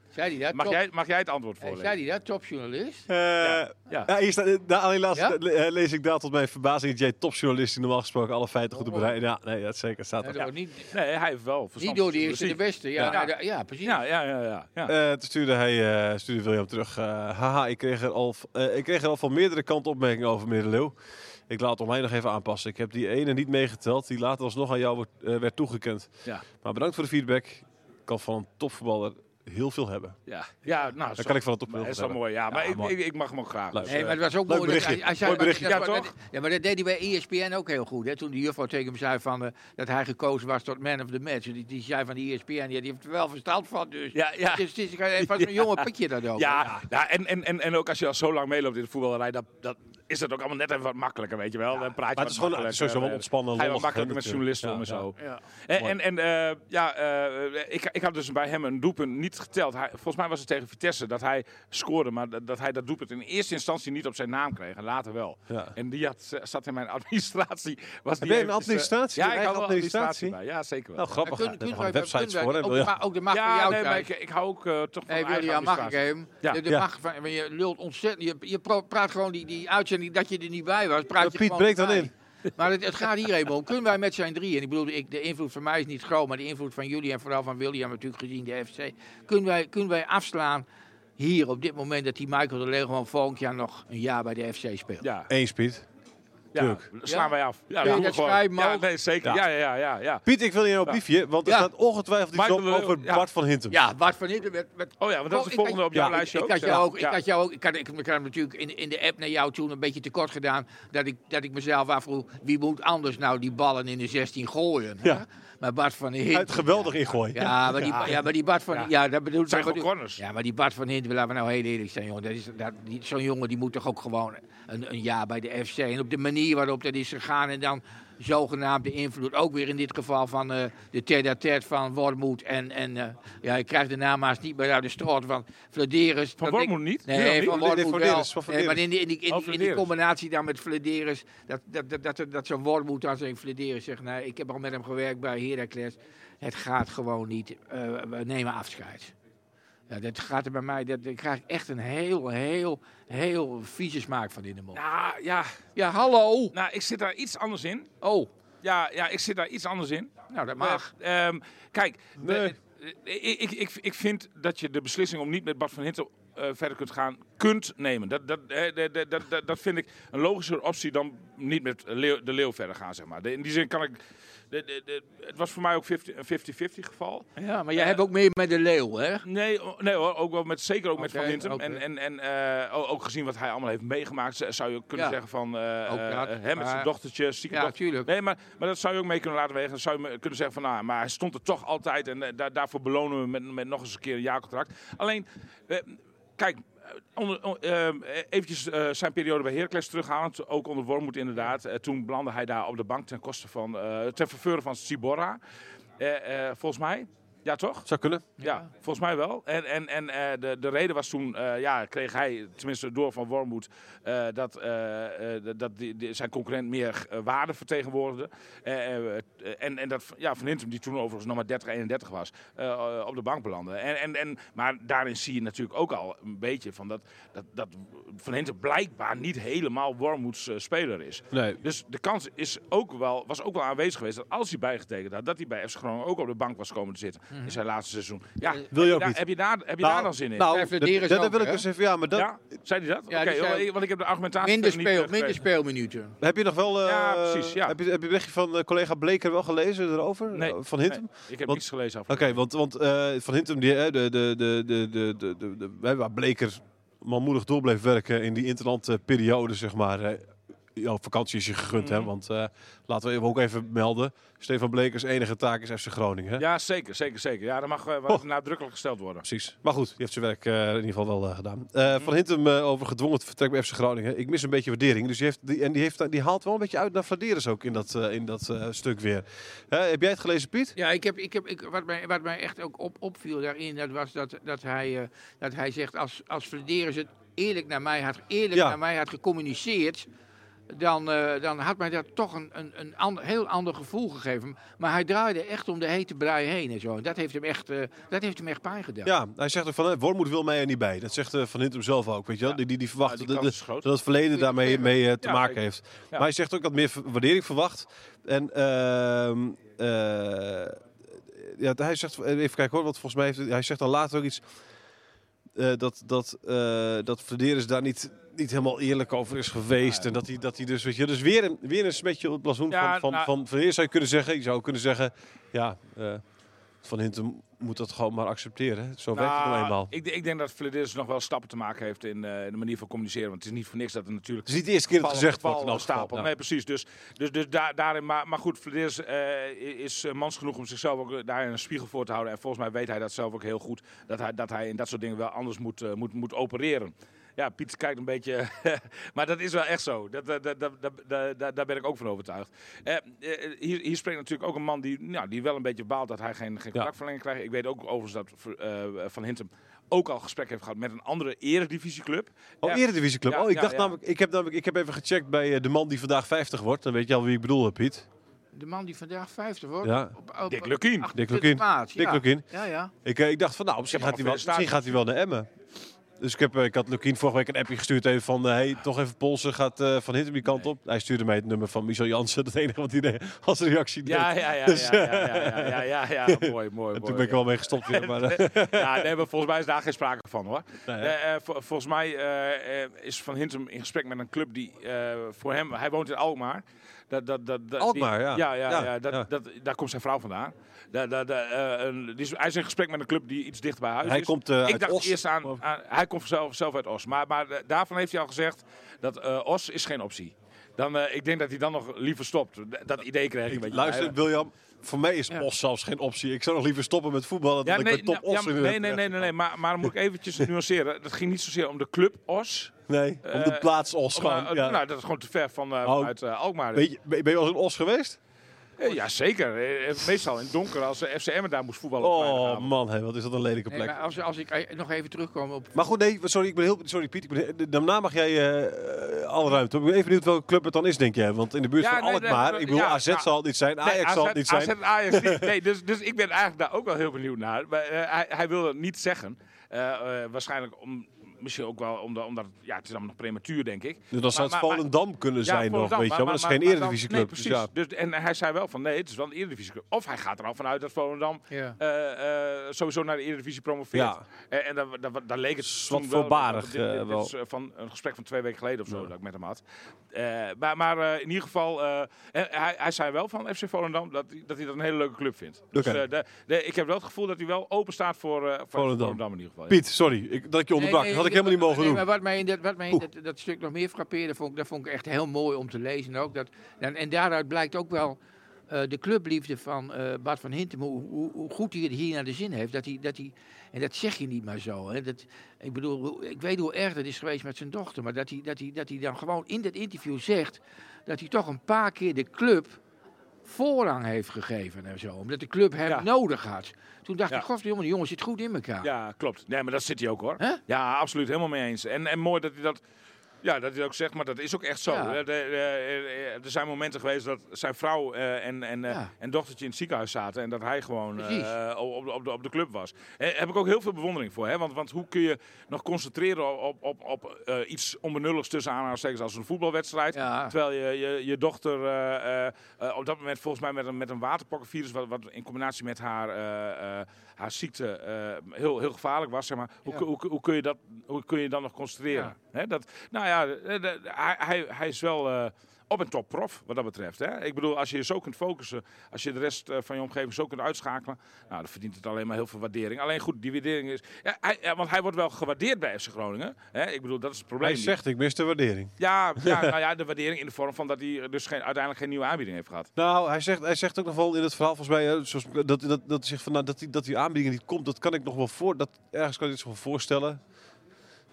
Zei hij dat?
Mag,
Top-
jij, mag jij het antwoord
Hey,
voorlezen?
zei hij dat? Topjournalist?
Eh,
ja.
ja. hier staat, eh, nou, alleen laatst
Ja?
le- eh, lees ik daar tot mijn verbazing. Jij topjournalist die normaal gesproken alle feiten goed op rij. Ja, nee, dat zeker staat er.
Dat wordt niet,
Nee, hij heeft wel verstand
Niet door de
van
eerste de
journalistiek.
beste. Ja,
Ja.
nou, da- ja precies.
Ja, ja, ja. ja, ja.
Eh, toen stuurde, hij, eh, stuurde William terug. eh, haha, ik kreeg, er al, v- eh, ik kreeg er al van meerdere kanten opmerkingen over meneer De Leeuw. Ik laat het mij nog even aanpassen. Ik heb die ene niet meegeteld, die later alsnog aan jou wordt, eh, werd toegekend.
Ja.
Maar bedankt voor de feedback. Ik kan van een topvoetballer heel veel hebben.
ja. ja nou,
Dat
zo-
kan ik van een
maar
topvoetballer
Dat is wel
hebben.
mooi, ja. Maar
Ja,
ik,
mooi.
ik, ik mag hem ook graag.
Leuk.
dus,
Nee,
eh,
maar het was ook
Leuk
mooi. dat
berichtje.
Hij, hij zei,
Mooi berichtje.
dat-
Ja,
dat-
toch?
ja, maar dat deed hij bij E ESPN ook heel goed. Hè? Toen die juffrouw tegen hem zei van, eh, dat hij gekozen was tot man of the match. Die, die zei van die E ESPN, ja, die heeft er wel verstand van. Dus
Ja, ja.
het is, het is, het was een jonge pikje dat ook.
Ja, ja. en, en, en, en ook als je al zo lang meeloopt in de voetballerij, dat, dat is dat ook allemaal net even wat makkelijker, weet je wel. Dan praat je Eh,
Maar het is gewoon het is sowieso wel ontspannen.
Hij was
lollig,
makkelijk
hè,
met
natuurlijk.
journalisten om en
Ja,
zo.
Ja.
En,
Mooi.
en, en eh, ja, eh, ik, ik had dus bij hem een doelpunt niet geteld. Hij, volgens mij was het tegen Vitesse dat hij scoorde, maar dat, dat hij dat doelpunt in eerste instantie niet op zijn naam kreeg en later wel.
Ja.
En die had, eh, zat in mijn administratie. Was die
jij een
eventjes, eh,
administratie?
Ja,
Je
ik had
eigen
wel administratie
administratie?
bij. Ja, zeker wel.
Nou, grappig.
Kun-
hè. Er
kunnen
gaan
wij-
websites
kunnen
voor.
wij-
hè,
ook,
wil je-
de ma- ook de macht van
ja,
jou
nee, maar
thuis.
ik, ik hou ook eh, toch van
Hey,
eigen
William, mag ik
administratie.
hem?
Ja.
De, de
Ja.
macht van, je lult ontzettend. Je, je pro- praat gewoon die, die uitzending dat je er niet bij was. Praat
Maar
je
Piet,
gewoon
breek dan
bij.
in.
Maar het, het gaat hier even om. Kunnen wij met zijn drieën, ik bedoel, ik, de invloed van mij is niet groot, maar de invloed van jullie en vooral van William natuurlijk gezien de FC. Kunnen wij, kunnen wij afslaan hier op dit moment dat die Michael de Leeuw gewoon volgend jaar nog een jaar bij de FC speelt?
Ja,
Eén Piet.
ja.
tuurlijk.
slaan wij af. Ja,
je
doen we
dat
gewoon.
schrijven,
ja,
Mo?
nee, zeker. Ja, ja, ja. ja, ja.
Piet, ik wil je een
Ja.
briefje, want er
Ja.
staat ongetwijfeld iets
Michael
op
de Leeuw,
over
ja.
Bart van Hintem.
Ja, Bart van Hintem. met- met-
Oh ja, want dat is
Ik
de
had-
volgende op jouw
ja,
lijstje
ik,
ook.
had
Ja.
jou ook,
Ja.
ik had jou ook, ik had, ik, ik had natuurlijk in, in de app naar jou toen een beetje tekort gedaan dat ik, dat ik mezelf afvroeg wie moet anders nou die ballen in de 16 gooien. hè?
Ja.
Maar Bart van
Uit
Hint.
geweldig ingooien.
Ja, maar die, ja. maar die Bart van. Ja, dat bedoel
Zijn
dat
gewoon
bedoel-
corners.
Ja, maar die Bart van Hint, laten we nou heel eerlijk zijn, jongen. Dat is, dat, die- zo'n jongen die moet toch ook gewoon een, een jaar bij de FC. En op de manier waarop dat is gegaan en dan zogenaamd de invloed, ook weer in dit geval van eh, de tête-à-tête van Wormoed. En, en eh, ja, ik krijg de naam haast niet meer uit de straat van Vladeris.
Van
Dat ik-
Wormoed niet?
Nee,
Ja, niet?
van
Nee,
Wormoed
van
wel.
Deris, van
Nee, maar
Deris.
in die, in die, in die-
Oh,
in die
van Deris.
combinatie dan met Vladeris, dat, dat, dat, dat, dat zo'n Wormoed dan zegt, Vladeris zegt, nee, ik heb al met hem gewerkt bij Heracles. Het gaat gewoon niet. Eh, we nemen afscheid. Ja, dat gaat er bij mij, dat, daar krijg ik echt een heel, heel, heel vieze smaak van in de mond.
Nou, ja.
Ja, hallo!
Nou, ik zit daar iets anders in.
Oh,
Ja, ja, ik zit daar iets anders in.
nou dat mag.
Maar, ehm, kijk,
Nee.
eh, eh, ik, ik, ik vind dat je de beslissing om niet met Bart van Hinten eh, verder kunt gaan, kunt nemen. Dat, dat, eh, dat- dat, dat, dat, dat vind ik een logischer optie dan niet met Leeuw- de Leeuw verder gaan, zeg maar. De- In die zin kan ik... de- de- de- het was voor mij ook 50-50 geval.
Ja, maar jij hebt ook meer met de leeuw, hè?
Nee, o- nee hoor, ook wel met, zeker ook met
Oké,
Van Hintem.
oké.
En, en, en eh, o- ook gezien wat hij allemaal heeft meegemaakt, z- zou je kunnen
Ja.
zeggen van eh,
Ook
eh,
dat,
hem met zijn
maar-
dochtertje, zieke
Ja,
dochter-
tuurlijk.
Nee, maar, maar dat zou je ook mee kunnen laten wegen. Dan zou je me- kunnen zeggen van, nou, maar hij stond er toch altijd en eh, daar- daarvoor belonen we met, met nog eens een keer een jaarcontract. Alleen, eh, kijk, eh, onder, on- ehm, eh, eventjes eh, zijn periode bij Heracles terughalend, ook onder Wormoed inderdaad. Eh, toen belandde hij daar op de bank ten koste van, eh ten verveuren van Ciborra, Eh, eh, volgens mij. Ja, toch?
Zou kunnen.
Ja, volgens mij wel. En, en, en eh, de, de reden was toen, eh, ja, kreeg hij tenminste door van Wormwood eh, dat, eh, eh, dat- dat die, die- zijn concurrent meer eh, waarde vertegenwoordigde. Eh, eh, en, en dat ja, Van Hintem, die toen overigens nog maar 30, 31 was, eh, eh, op de bank belandde. En, en, en, maar daarin zie je natuurlijk ook al een beetje van dat, dat, dat Van Hintem blijkbaar niet helemaal Wormwoods eh, speler is.
Nee.
Dus de kans is ook wel, was ook wel aanwezig geweest dat als hij bijgetekend had, dat hij bij FC Groningen ook op de bank was komen te zitten
Mhm.
in zijn laatste seizoen. Ja,
Wil
heb
Eh, je ook
daar-
niet?
Heb je daar, heb je daar dan zin in?
Nou,
Wij
dat,
flirteren
dat-
zo,
dat wil ik
hè?
dus even. Ja, maar dat,
ja, zei hij dat?
Ja,
Oké,
die
wel,
zei-
eh, want ik heb de argumentatie
Minder,
niet
speel,
eh, gekregen.
minder speelminuten.
heb je nog wel. eh,
Ja, precies, ja.
Heb je, heb je het berichtje van eh, collega Bleker wel gelezen erover?
Nee.
Eh, Van Hintem?
Nee, ik heb
Want-
niets gelezen af.
Oké, want, want eh, Van Hintem, die, hè, de, de, de, de, de, de, de, de- hè, waar Bleker manmoedig door bleef werken in die interlandperiode, periode, zeg maar. hè. Ja, op vakantie is je gegund,
Mhm.
hè? Want eh, laten we even ook even melden. Stefan Blekers enige taak is FC Groningen. Hè?
Ja, zeker, zeker, zeker. Ja, dat mag eh, wel
Oh.
even nadrukkelijk gesteld worden.
Precies. Maar goed, die heeft zijn werk eh, in ieder geval wel eh, gedaan. Eh, Van Hintem eh, over gedwongen het vertrek bij FC Groningen. Ik mis een beetje waardering. Dus die heeft, die, en die, heeft, die haalt wel een beetje uit naar Vladeris ook in dat, eh, in dat eh, stuk weer. Hè, heb jij het gelezen, Piet?
Ja, ik heb, ik heb, ik, wat, mij, wat mij echt ook op, opviel daarin, dat was dat, dat, hij, eh, dat hij zegt, als, als Flederis het eerlijk naar mij had, eerlijk
Ja.
naar mij had gecommuniceerd, dan, eh, dan had mij dat toch een, een, een ander, heel ander gevoel gegeven. Maar hij draaide echt om de hete brei heen en zo. En dat heeft hem echt, eh, dat heeft hem echt pijn gedaan.
Ja, hij zegt ook van, hè, Wormoed wil mij er niet bij. Dat zegt eh, Van Hintem zelf ook, weet je wel. Die, die, die verwacht
Ja, die
dat-
kans
dat-
is groot.
dat het verleden daarmee mee, eh, te
Ja,
maken
zeker.
heeft. Maar hij zegt ook dat meer waardering verwacht. En ehm, eh, ja, hij zegt, eh, even kijken hoor, want volgens mij heeft, hij zegt dan later ook iets... eh, dat dat, eh dat Flederis daar niet, niet helemaal eerlijk over is geweest. En dat hij, dat hij dus, weet je, dus weer een, weer een smetje op het blazoen
Ja,
van, van,
nou-
van Flederis zou je kunnen zeggen. Je zou kunnen zeggen, ja, eh, Van Hintem moet dat gewoon maar accepteren. Zo werkt het
Nou,
nou eenmaal.
ik, ik denk dat Fledis nog wel stappen te maken heeft in eh, de manier van communiceren. Want het is niet voor niks dat er natuurlijk
Het is niet de eerste keer dat het gezegd wordt.
geval
in elk geval.
stapel.
Ja.
Nee, precies. Dus, dus, dus daar, daarin, maar, maar goed, Flederis eh, is eh, mans genoeg om zichzelf ook eh, daar een spiegel voor te houden. En volgens mij weet hij dat zelf ook heel goed. Dat hij, dat hij in dat soort dingen wel anders moet, eh, moet, moet opereren. Ja, Piet kijkt een beetje. maar dat is wel echt zo. Dat, dat, dat, dat, dat, dat- dat- daar ben ik ook van overtuigd. Eh, eh, hier, hier spreekt natuurlijk ook een man die, nou, die wel een beetje baalt dat hij geen, geen contractverlenging krijgt. Ik weet ook overigens dat eh, Van Hintem ook al gesprek heeft gehad met een andere eredivisieclub.
Oh,
Ja.
Eredivisieclub.
Ja,
oh, ik
ja,
dacht
ja.
namelijk ik, heb namelijk, ik heb even gecheckt bij eh, de man die vandaag 50 wordt. Dan weet je al wie ik bedoel, hè, Piet.
De man die vandaag 50 wordt.
Ja.
op- op-
Dick Lukien.
28e
Dick Lukien.
plaats,
Dick
ja.
Lukien.
Ja, ja.
Ik, eh, ik dacht van, nou, misschien
heb
gaat, hij
al
wel,
veel
misschien gaat hij wel naar Emmen. Dus ik, heb, eh, ik had Lukien vorige week een appje gestuurd even van... eh, hey, toch even polsen, gaat eh, Van Hintem die kant op? Hij stuurde mij het nummer van Michel Jansen. Dat enige wat hij deed, als reactie deed.
Ja, ja, ja, ja, ja, ja, ja, ja, ja. mooi,
Dus, en
mooi.
toen
mooi,
ben ik
ja.
er wel mee gestopt weer. Maar, eh,
Ja, nee, maar volgens mij is daar geen sprake van hoor.
Nee, hè?
Eh, eh, vol- volgens mij eh, eh, is Van Hintem in gesprek met een club die eh, voor hem, hij woont in Alkmaar. Dat, dat, dat, dat,
Alkmaar,
die-
ja.
Ja, ja,
Ja,
ja, dat,
ja.
Dat, daar komt zijn vrouw vandaan. Da, da, da, eh, een- die is- hij is in gesprek met een club die iets dichter bij huis
Hij
is.
komt, eh,
Ik
uit
dacht
Os,
eerst
geloof
aan,
ik.
aan- hij komt zelf, zelf uit Os. Maar, maar eh, daarvan heeft hij al gezegd dat eh, Os is geen optie. Dan, eh, ik denk dat hij dan nog liever stopt. D- Dat idee kreeg ik. een beetje.
luister, William, voor mij is
Ja.
Os zelfs geen optie. Ik zou nog liever stoppen met voetballen dan ik met Top
nou,
Os
ja,
in de-
nee, nee, nee, nee, nee, maar, maar dan moet ik eventjes nuanceren. Het ging niet zozeer om de club Os.
Nee, om de
Eh,
plaats Os
Maar,
gewoon.
eh,
ja.
Nou, dat is gewoon te ver van, eh
Oh.
uit eh, Alkmaar.
Weet je- ben je wel eens een Os geweest?
Eh, ja, zeker. Eh, eh, Meestal in het donker als eh, FCM daar moest voetballen. op
Oh
vrijdagavond.
man, hé, wat is dat een lelijke
Nee,
plek.
maar
maar,
als, als ik eh, nog even terugkom op
goed, nee, sorry, ik ben heel, sorry Piet. Ik ben, he- daarna mag jij eh, eh, alle ruimte. Ik ben even benieuwd welke club het dan is, denk jij. Want in de buurt
Ja,
van
nee,
Alkmaar,
nee,
ik bedoel,
ja,
AZ
nou,
zal het niet zijn, Ajax
Nee,
zal het
AZ
niet zijn.
AZ, Ajax niet. Nee, dus, dus ik ben eigenlijk daar ook wel heel benieuwd naar. Maar, eh, hij, hij wil het niet zeggen. Eh, eh, waarschijnlijk om, misschien ook wel omdat, omdat ja, het is allemaal nog prematuur, denk ik.
dus dan zou het
Maar- maar- maar-
Volendam kunnen zijn nog,
Volendam,
weet je wel. Maar, dat is geen
dan-
eredivisieclub.
Nee,
dus
precies.
ja.
dus, en hij zei wel van nee, het is wel een eredivisieclub. Of hij gaat er al vanuit dat Volendam
Ja.
eh, eh, sowieso naar de eredivisie promoveert.
Ja.
En, en dan, dan, dan leek het
Is
toen
wat
wel-
voorbarig,
want dit- dit-
eh,
dit
wel.
is, eh, van een gesprek van twee weken geleden of zo dat ik met hem had. Eh, maar maar eh, in ieder geval, eh, en hij, hij zei wel van FC Volendam dat, hij- dat hij dat een hele leuke club vindt. Dus
Oké.
eh, de- de- ik heb wel het gevoel dat hij wel open staat voor, eh voor
Volendam.
Volendam. in ieder geval. ja.
Piet, sorry ik, dat ik je onderbrak. dat had ik helemaal niet mogen
nee,
doen.
Maar wat mij in, dat, wat mij in dat, dat stuk nog meer frappeerde, vond ik, dat vond ik echt heel mooi om te lezen. Ook dat, en, en daaruit blijkt ook wel eh, de clubliefde van eh, Bart van Hintem, hoe, hoe, hoe goed hij het hier naar de zin heeft. Dat hij, dat hij, en dat zeg je niet maar zo. Hè, dat, ik bedoel, hoe- ik weet hoe erg dat is geweest met zijn dochter, maar dat hij, dat hij, dat hij dan gewoon in dat interview zegt dat hij toch een paar keer de club voorrang heeft gegeven en zo. Omdat de club hem
Ja.
nodig had. Toen dacht
Ja.
ik, godverdomme, die jongen zit goed in elkaar.
Ja, klopt. Nee, maar dat zit hij ook hoor.
Hè?
Ja, absoluut. Helemaal mee eens. En, en mooi dat hij dat. Ja, dat hij dat ook zegt, maar dat is ook echt zo.
Ja.
Eh, de- de- eh, Er zijn momenten geweest dat zijn vrouw eh, en, en, eh,
Ja.
en dochtertje in het ziekenhuis zaten en dat hij gewoon eh,
Precies.
op, op, de- op, de, op de club was. Daar heb ik ook heel veel bewondering voor. Hè? Want, want hoe kun je nog concentreren op, op, op eh, iets onbenulligs tussen aanhalingstekens als een voetbalwedstrijd?
Ja.
Terwijl je, je, je dochter eh, eh, eh, op dat moment volgens mij met een, met een waterpokkenvirus, wat, wat in combinatie met haar, eh, eh, haar ziekte eh, heel, heel gevaarlijk was, zeg maar. Hoe,
Ja.
kun- hoe, hoe kun je dat, hoe kun je dan nog concentreren? Hè, dat, nou ja, eh, de- hij, hij, hij is wel eh, op een top prof wat dat betreft. Hè? Ik bedoel, als je je zo kunt focussen, als je de rest eh, van je omgeving zo kunt uitschakelen, nou, dan verdient het alleen maar heel veel waardering. Alleen goed, die waardering is... Ja, hij, ja, want hij wordt wel gewaardeerd bij FC Groningen. Hè? Ik bedoel, dat is het probleem.
Hij
niet.
zegt, ik mis de waardering.
Ja, ja, nou ja, de waardering in de vorm van dat hij dus geen, uiteindelijk geen nieuwe aanbieding heeft gehad.
Nou, hij zegt, hij zegt ook nog wel in het verhaal, volgens mij, hè, zoals, dat, dat, dat, hij zegt van, nou, dat, die, dat die aanbieding niet komt, dat kan ik nog wel voor, dat, ergens kan ik het zich wel voorstellen.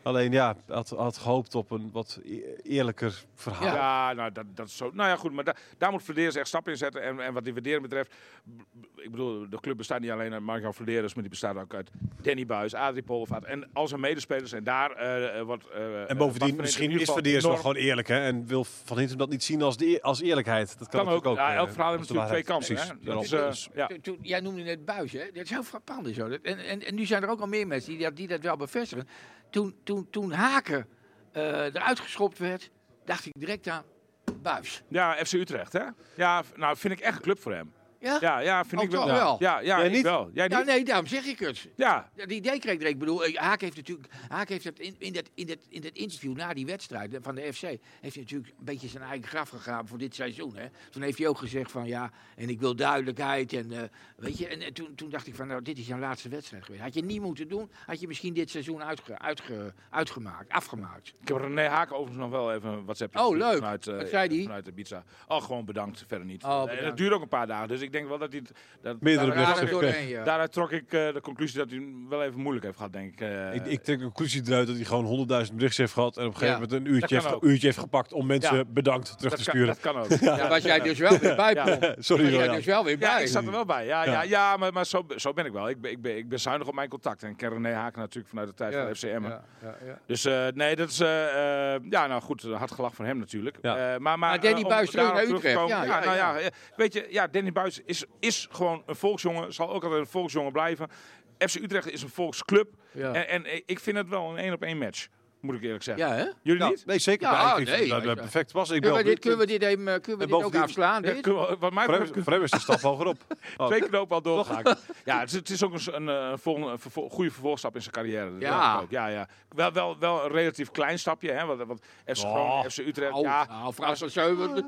Alleen ja, had, had gehoopt op een wat e- eerlijker verhaal.
Ja, nou, dat, dat is zo. Nou ja, goed, maar da- daar moet Flederis echt stappen in zetten. En, en wat die waardering betreft, b- b- ik bedoel, de club bestaat niet alleen uit Marco Flederis, maar die bestaat ook uit Danny Buis, Adrie Polvaart en al zijn medespelers. En daar eh, eh, wordt... eh, eh,
En
Bart van
bovendien,
Entem in
misschien
ieder
is
geval
Verdeers wel
enorm-
gewoon eerlijk, hè? En wil Van Hintem dat niet zien als, de, eer- als eerlijkheid. Dat kan,
Kan ook.
natuurlijk ook.
Ja,
eh,
elk verhaal
als
heeft
de
natuurlijk twee
waarheid.
kanten.
Precies.
Hè?
Daarom. dus-
Dat is, eh, ja.
Toen- toen- jij noemde net buis, hè? Dat is heel frappant zo. Dat- En, en, en nu zijn er ook al meer mensen die dat, die dat wel bevestigen. Toen, toen, toen Haken eh, eruit geschopt werd, dacht ik direct aan buis.
ja, FC Utrecht, hè? Ja, v- nou, vind ik echt een club voor hem.
Ja?
Ja, ja vind
Oh,
ik wel.
toch wel?
Ja, ja
Jij
ik
niet?
wel. Jij
Ja,
niet?
nee, daarom zeg ik het.
Ja,
Dat idee kreeg ik direct. Ik bedoel, eh, Haak heeft natuurlijk. Haak heeft dat in, in, dat, in, dat, in dat interview na die wedstrijd eh, van de FC. Heeft hij natuurlijk een beetje zijn eigen graf gegraven voor dit seizoen. Hè? Toen heeft hij ook gezegd: van ja, en ik wil duidelijkheid. En, eh, weet je, en eh, toen, toen dacht ik: van nou, dit is jouw laatste wedstrijd geweest. Had je niet moeten doen, had je misschien dit seizoen uitge, uitge, uitgemaakt, afgemaakt.
Ik heb René Haak overigens nog wel even een WhatsAppje
Oh,
gestuurd
leuk.
Vanuit, eh,
Wat zei die?
Vanuit Ibiza. Oh, gewoon bedankt, verder niet.
Oh,
En
bedankt.
dat duurt ook een paar dagen, dus ik denk wel dat hij... het- Dat,
Meerdere
daaruit-
berichten
daaruit-
gekregen.
ja.
Daaruit trok ik eh, de conclusie dat hij hem wel even moeilijk heeft gehad, denk ik. eh.
Dus Ik, ik trek de conclusie eruit dat hij gewoon 100.000 berichtjes heeft gehad. En op een gegeven
Ja,
moment een uurtje,
kan
heeft,
ook.
uurtje heeft gepakt om mensen
Ja.
bedankt terug
dat,
te
kan,
sturen.
dat kan ook. Ja,
Daar was jij dus wel weer bij,
Ja.
Pom. Daar
Sorry,
was jij
Royan.
dus wel weer
Ja,
bij.
ik zat er wel bij. Ja, ja.
Ja.
ja, maar, maar zo, zo ben ik wel. Ik ben, ik, ben, ik ben zuinig op mijn contact. En ik ken René Haak natuurlijk vanuit de tijd van FCM.
Ja, ja, ja.
Dus eh, nee, dat is... eh, eh, ja, nou goed, hard gelach van hem natuurlijk.
Ja.
Eh, maar, maar,
Maar Danny
eh, om
Buis terug
daarop
naar
terug te
Utrecht.
komen-
Ja,
Ja,
ja,
nou
ja.
ja, ja, weet je, ja, Danny Buis is, is gewoon een volksjongen. Zal ook altijd een volksjongen blijven. FC Utrecht is een volksclub.
Ja.
En, en ik vind het wel een één op één match, moet ik eerlijk zeggen.
Ja, Nou, hè?
Jullie
Ja,
niet?
Nou, nee, zeker.
Ja, ah,
Ja, ik vind
nee,
dat dat
ja.
perfect was. Ik
Kunnen we
wel.
dit, kunnen we dit even, eh, kunnen we dit ook
bovendien-
afslaan?
Ja,
dit?
kunnen we- wat mij
Voor hem-
betreft
Voor hem is de stap hogerop. Oh,
twee knopen al doorgehaakt. ja, het is, het is ook een, s- een, eh, volgende- een vervol- goede vervolgstap in zijn carrière. Dat
Ja.
denk ik ook. ja, ja. Wel, wel, wel een relatief klein stapje, hè? Want, want FC Groningen,
Oh.
FC Utrecht,
Oh,
ja.
nou, Frans van Zeuwen.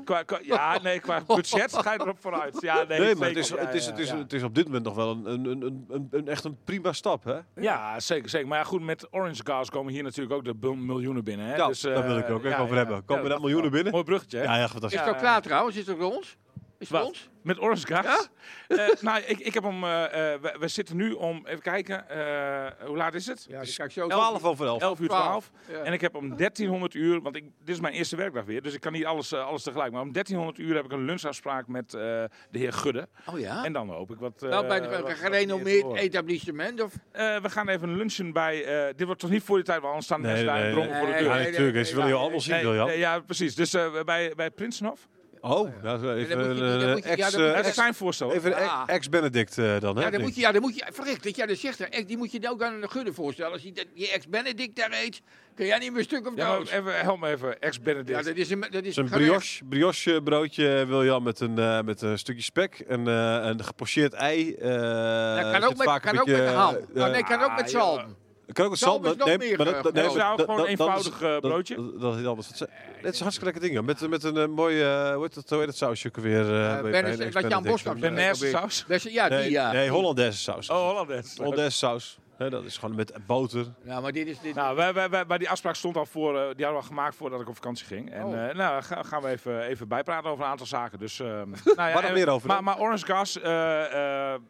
Qua, qua- ja, nee, qua budget ga je erop vooruit. Ja, nee,
Nee, maar het is,
zeker. Ja,
het, is,
ja,
het, is,
ja.
het is op dit moment nog wel een, een, een, een, een, een- echt een prima stap. Hè?
Ja, zeker, zeker. Maar ja, goed, met Orange Gas komen hier natuurlijk ook de bul- miljoenen binnen. Hè?
Ja,
Dus, eh,
daar wil ik ook echt
ja,
over
ja.
hebben. Komen
Ja,
daar miljoenen binnen?
Mooi bruggetje, hè?
Ja, ja, fantastisch.
Is
Ja,
het al
ja.
klaar trouwens? Is het rond? Is het
Wat?
rond?
Met Orange Gas?
Ja?
Eh, nou, ik, ik heb hem... eh, eh, we, we zitten nu om... Even kijken. eh, hoe laat is het?
Ja, dat kan ik zo
12 over 11.
11 uur 12.
Twaalf, ja.
En ik heb om 1300 uur, want ik, dit is mijn eerste werkdag weer, dus ik kan niet alles, eh, alles tegelijk. Maar om 1300 uur heb ik een lunchafspraak met eh, de heer Gudde.
Oh ja?
En dan hoop ik wat. eh,
Wel bij
wat- wat
een
meer te
gerenommeerd
horen.
etablissement? Of?
Eh, we gaan even lunchen bij. eh, dit wordt toch niet voor die tijd, want anders staan de
Nee,
mensen daar
nee,
in dronken
nee.
voor de
Ja,
deur.
Nee, nee,
natuurlijk.
nee,
Ze willen
nee,
jou allemaal zien,
Nee,
Wiljan.
nee, ja, precies. Dus eh, bij, bij Prinsenhof.
Oh, dat is even
moet je-
een,
dat
eh,
moet je- ja,
ex,
dat moet je-
eh,
Dat is
ex-
zijn voorstel.
even een
Ah.
ex- ex-Benedict eh, dan. Hè,
Ja, dan
denk
moet je, ja, dan moet je, verricht dat jij dat zegt, hè, echt, die moet je dan ook aan een gudde voorstellen. Als je, dat- je ex-Benedict daar eet, kun jij niet meer stuk of
Ja, maar
dood.
even, help me even,
Nou, Ja,
ex-Benedict.
dat is een, dat is
Het is een
gerecht.
brioche, brioche broodje, Wiljan, met een, eh, met een stukje spek en eh, een gepocheerd ei. eh,
Dat
zit
kan ook met,
vaak een
kan ook met
beetje,
ham.
eh,
Oh, nee, kan ook met
ah,
zalm.
Kan ook het
Zalm
zalm, met-
is nog
nee,
meer,
maar
eh,
dat, dat,
gewoon.
nee,
Ja,
dat-
gewoon
dat-
een
dat is-
eenvoudig, eh,
dat-
broodje.
Dat, dat is anders. Dat is- Het is een hartstikke lekker ding, ja. met, met een mooi, hoe heet dat, hoe heet dat sausje ook weer? eh, bij- bij
Benedict-
een
wat Jan
Benedict?
Boskap
De Nerse saus.
Dat is- ja, die eh,
Nee,
ja.
nee, Hollandaise saus.
Oh, Hollandes.
Hollandaise saus. Hè, dat is gewoon met boter.
Nou, maar dit is... Dit,
Nou, wij, wij, wij, maar die afspraak stond al voor, eh, die hadden we al gemaakt voordat ik op vakantie ging. En
Oh.
eh, nou, daar ga- gaan we even, even bijpraten over een aantal zaken. Dus, ehm, nou ja,
Waar dan
en-
weer over
Maar,
dan?
maar Orange Gas, eh, eh, eh,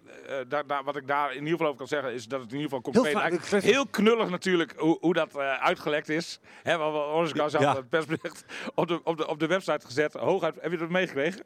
daar- daar- wat ik daar in ieder geval over kan zeggen, is dat het in ieder geval compleet
vaak-
lijkt. Heel knullig natuurlijk hoe, hoe dat eh, uitgelekt is. Hè, want Orange Gas had
Ja.
het persbericht op de, op, de, op de website gezet. Hooguit, heb je dat meegekregen?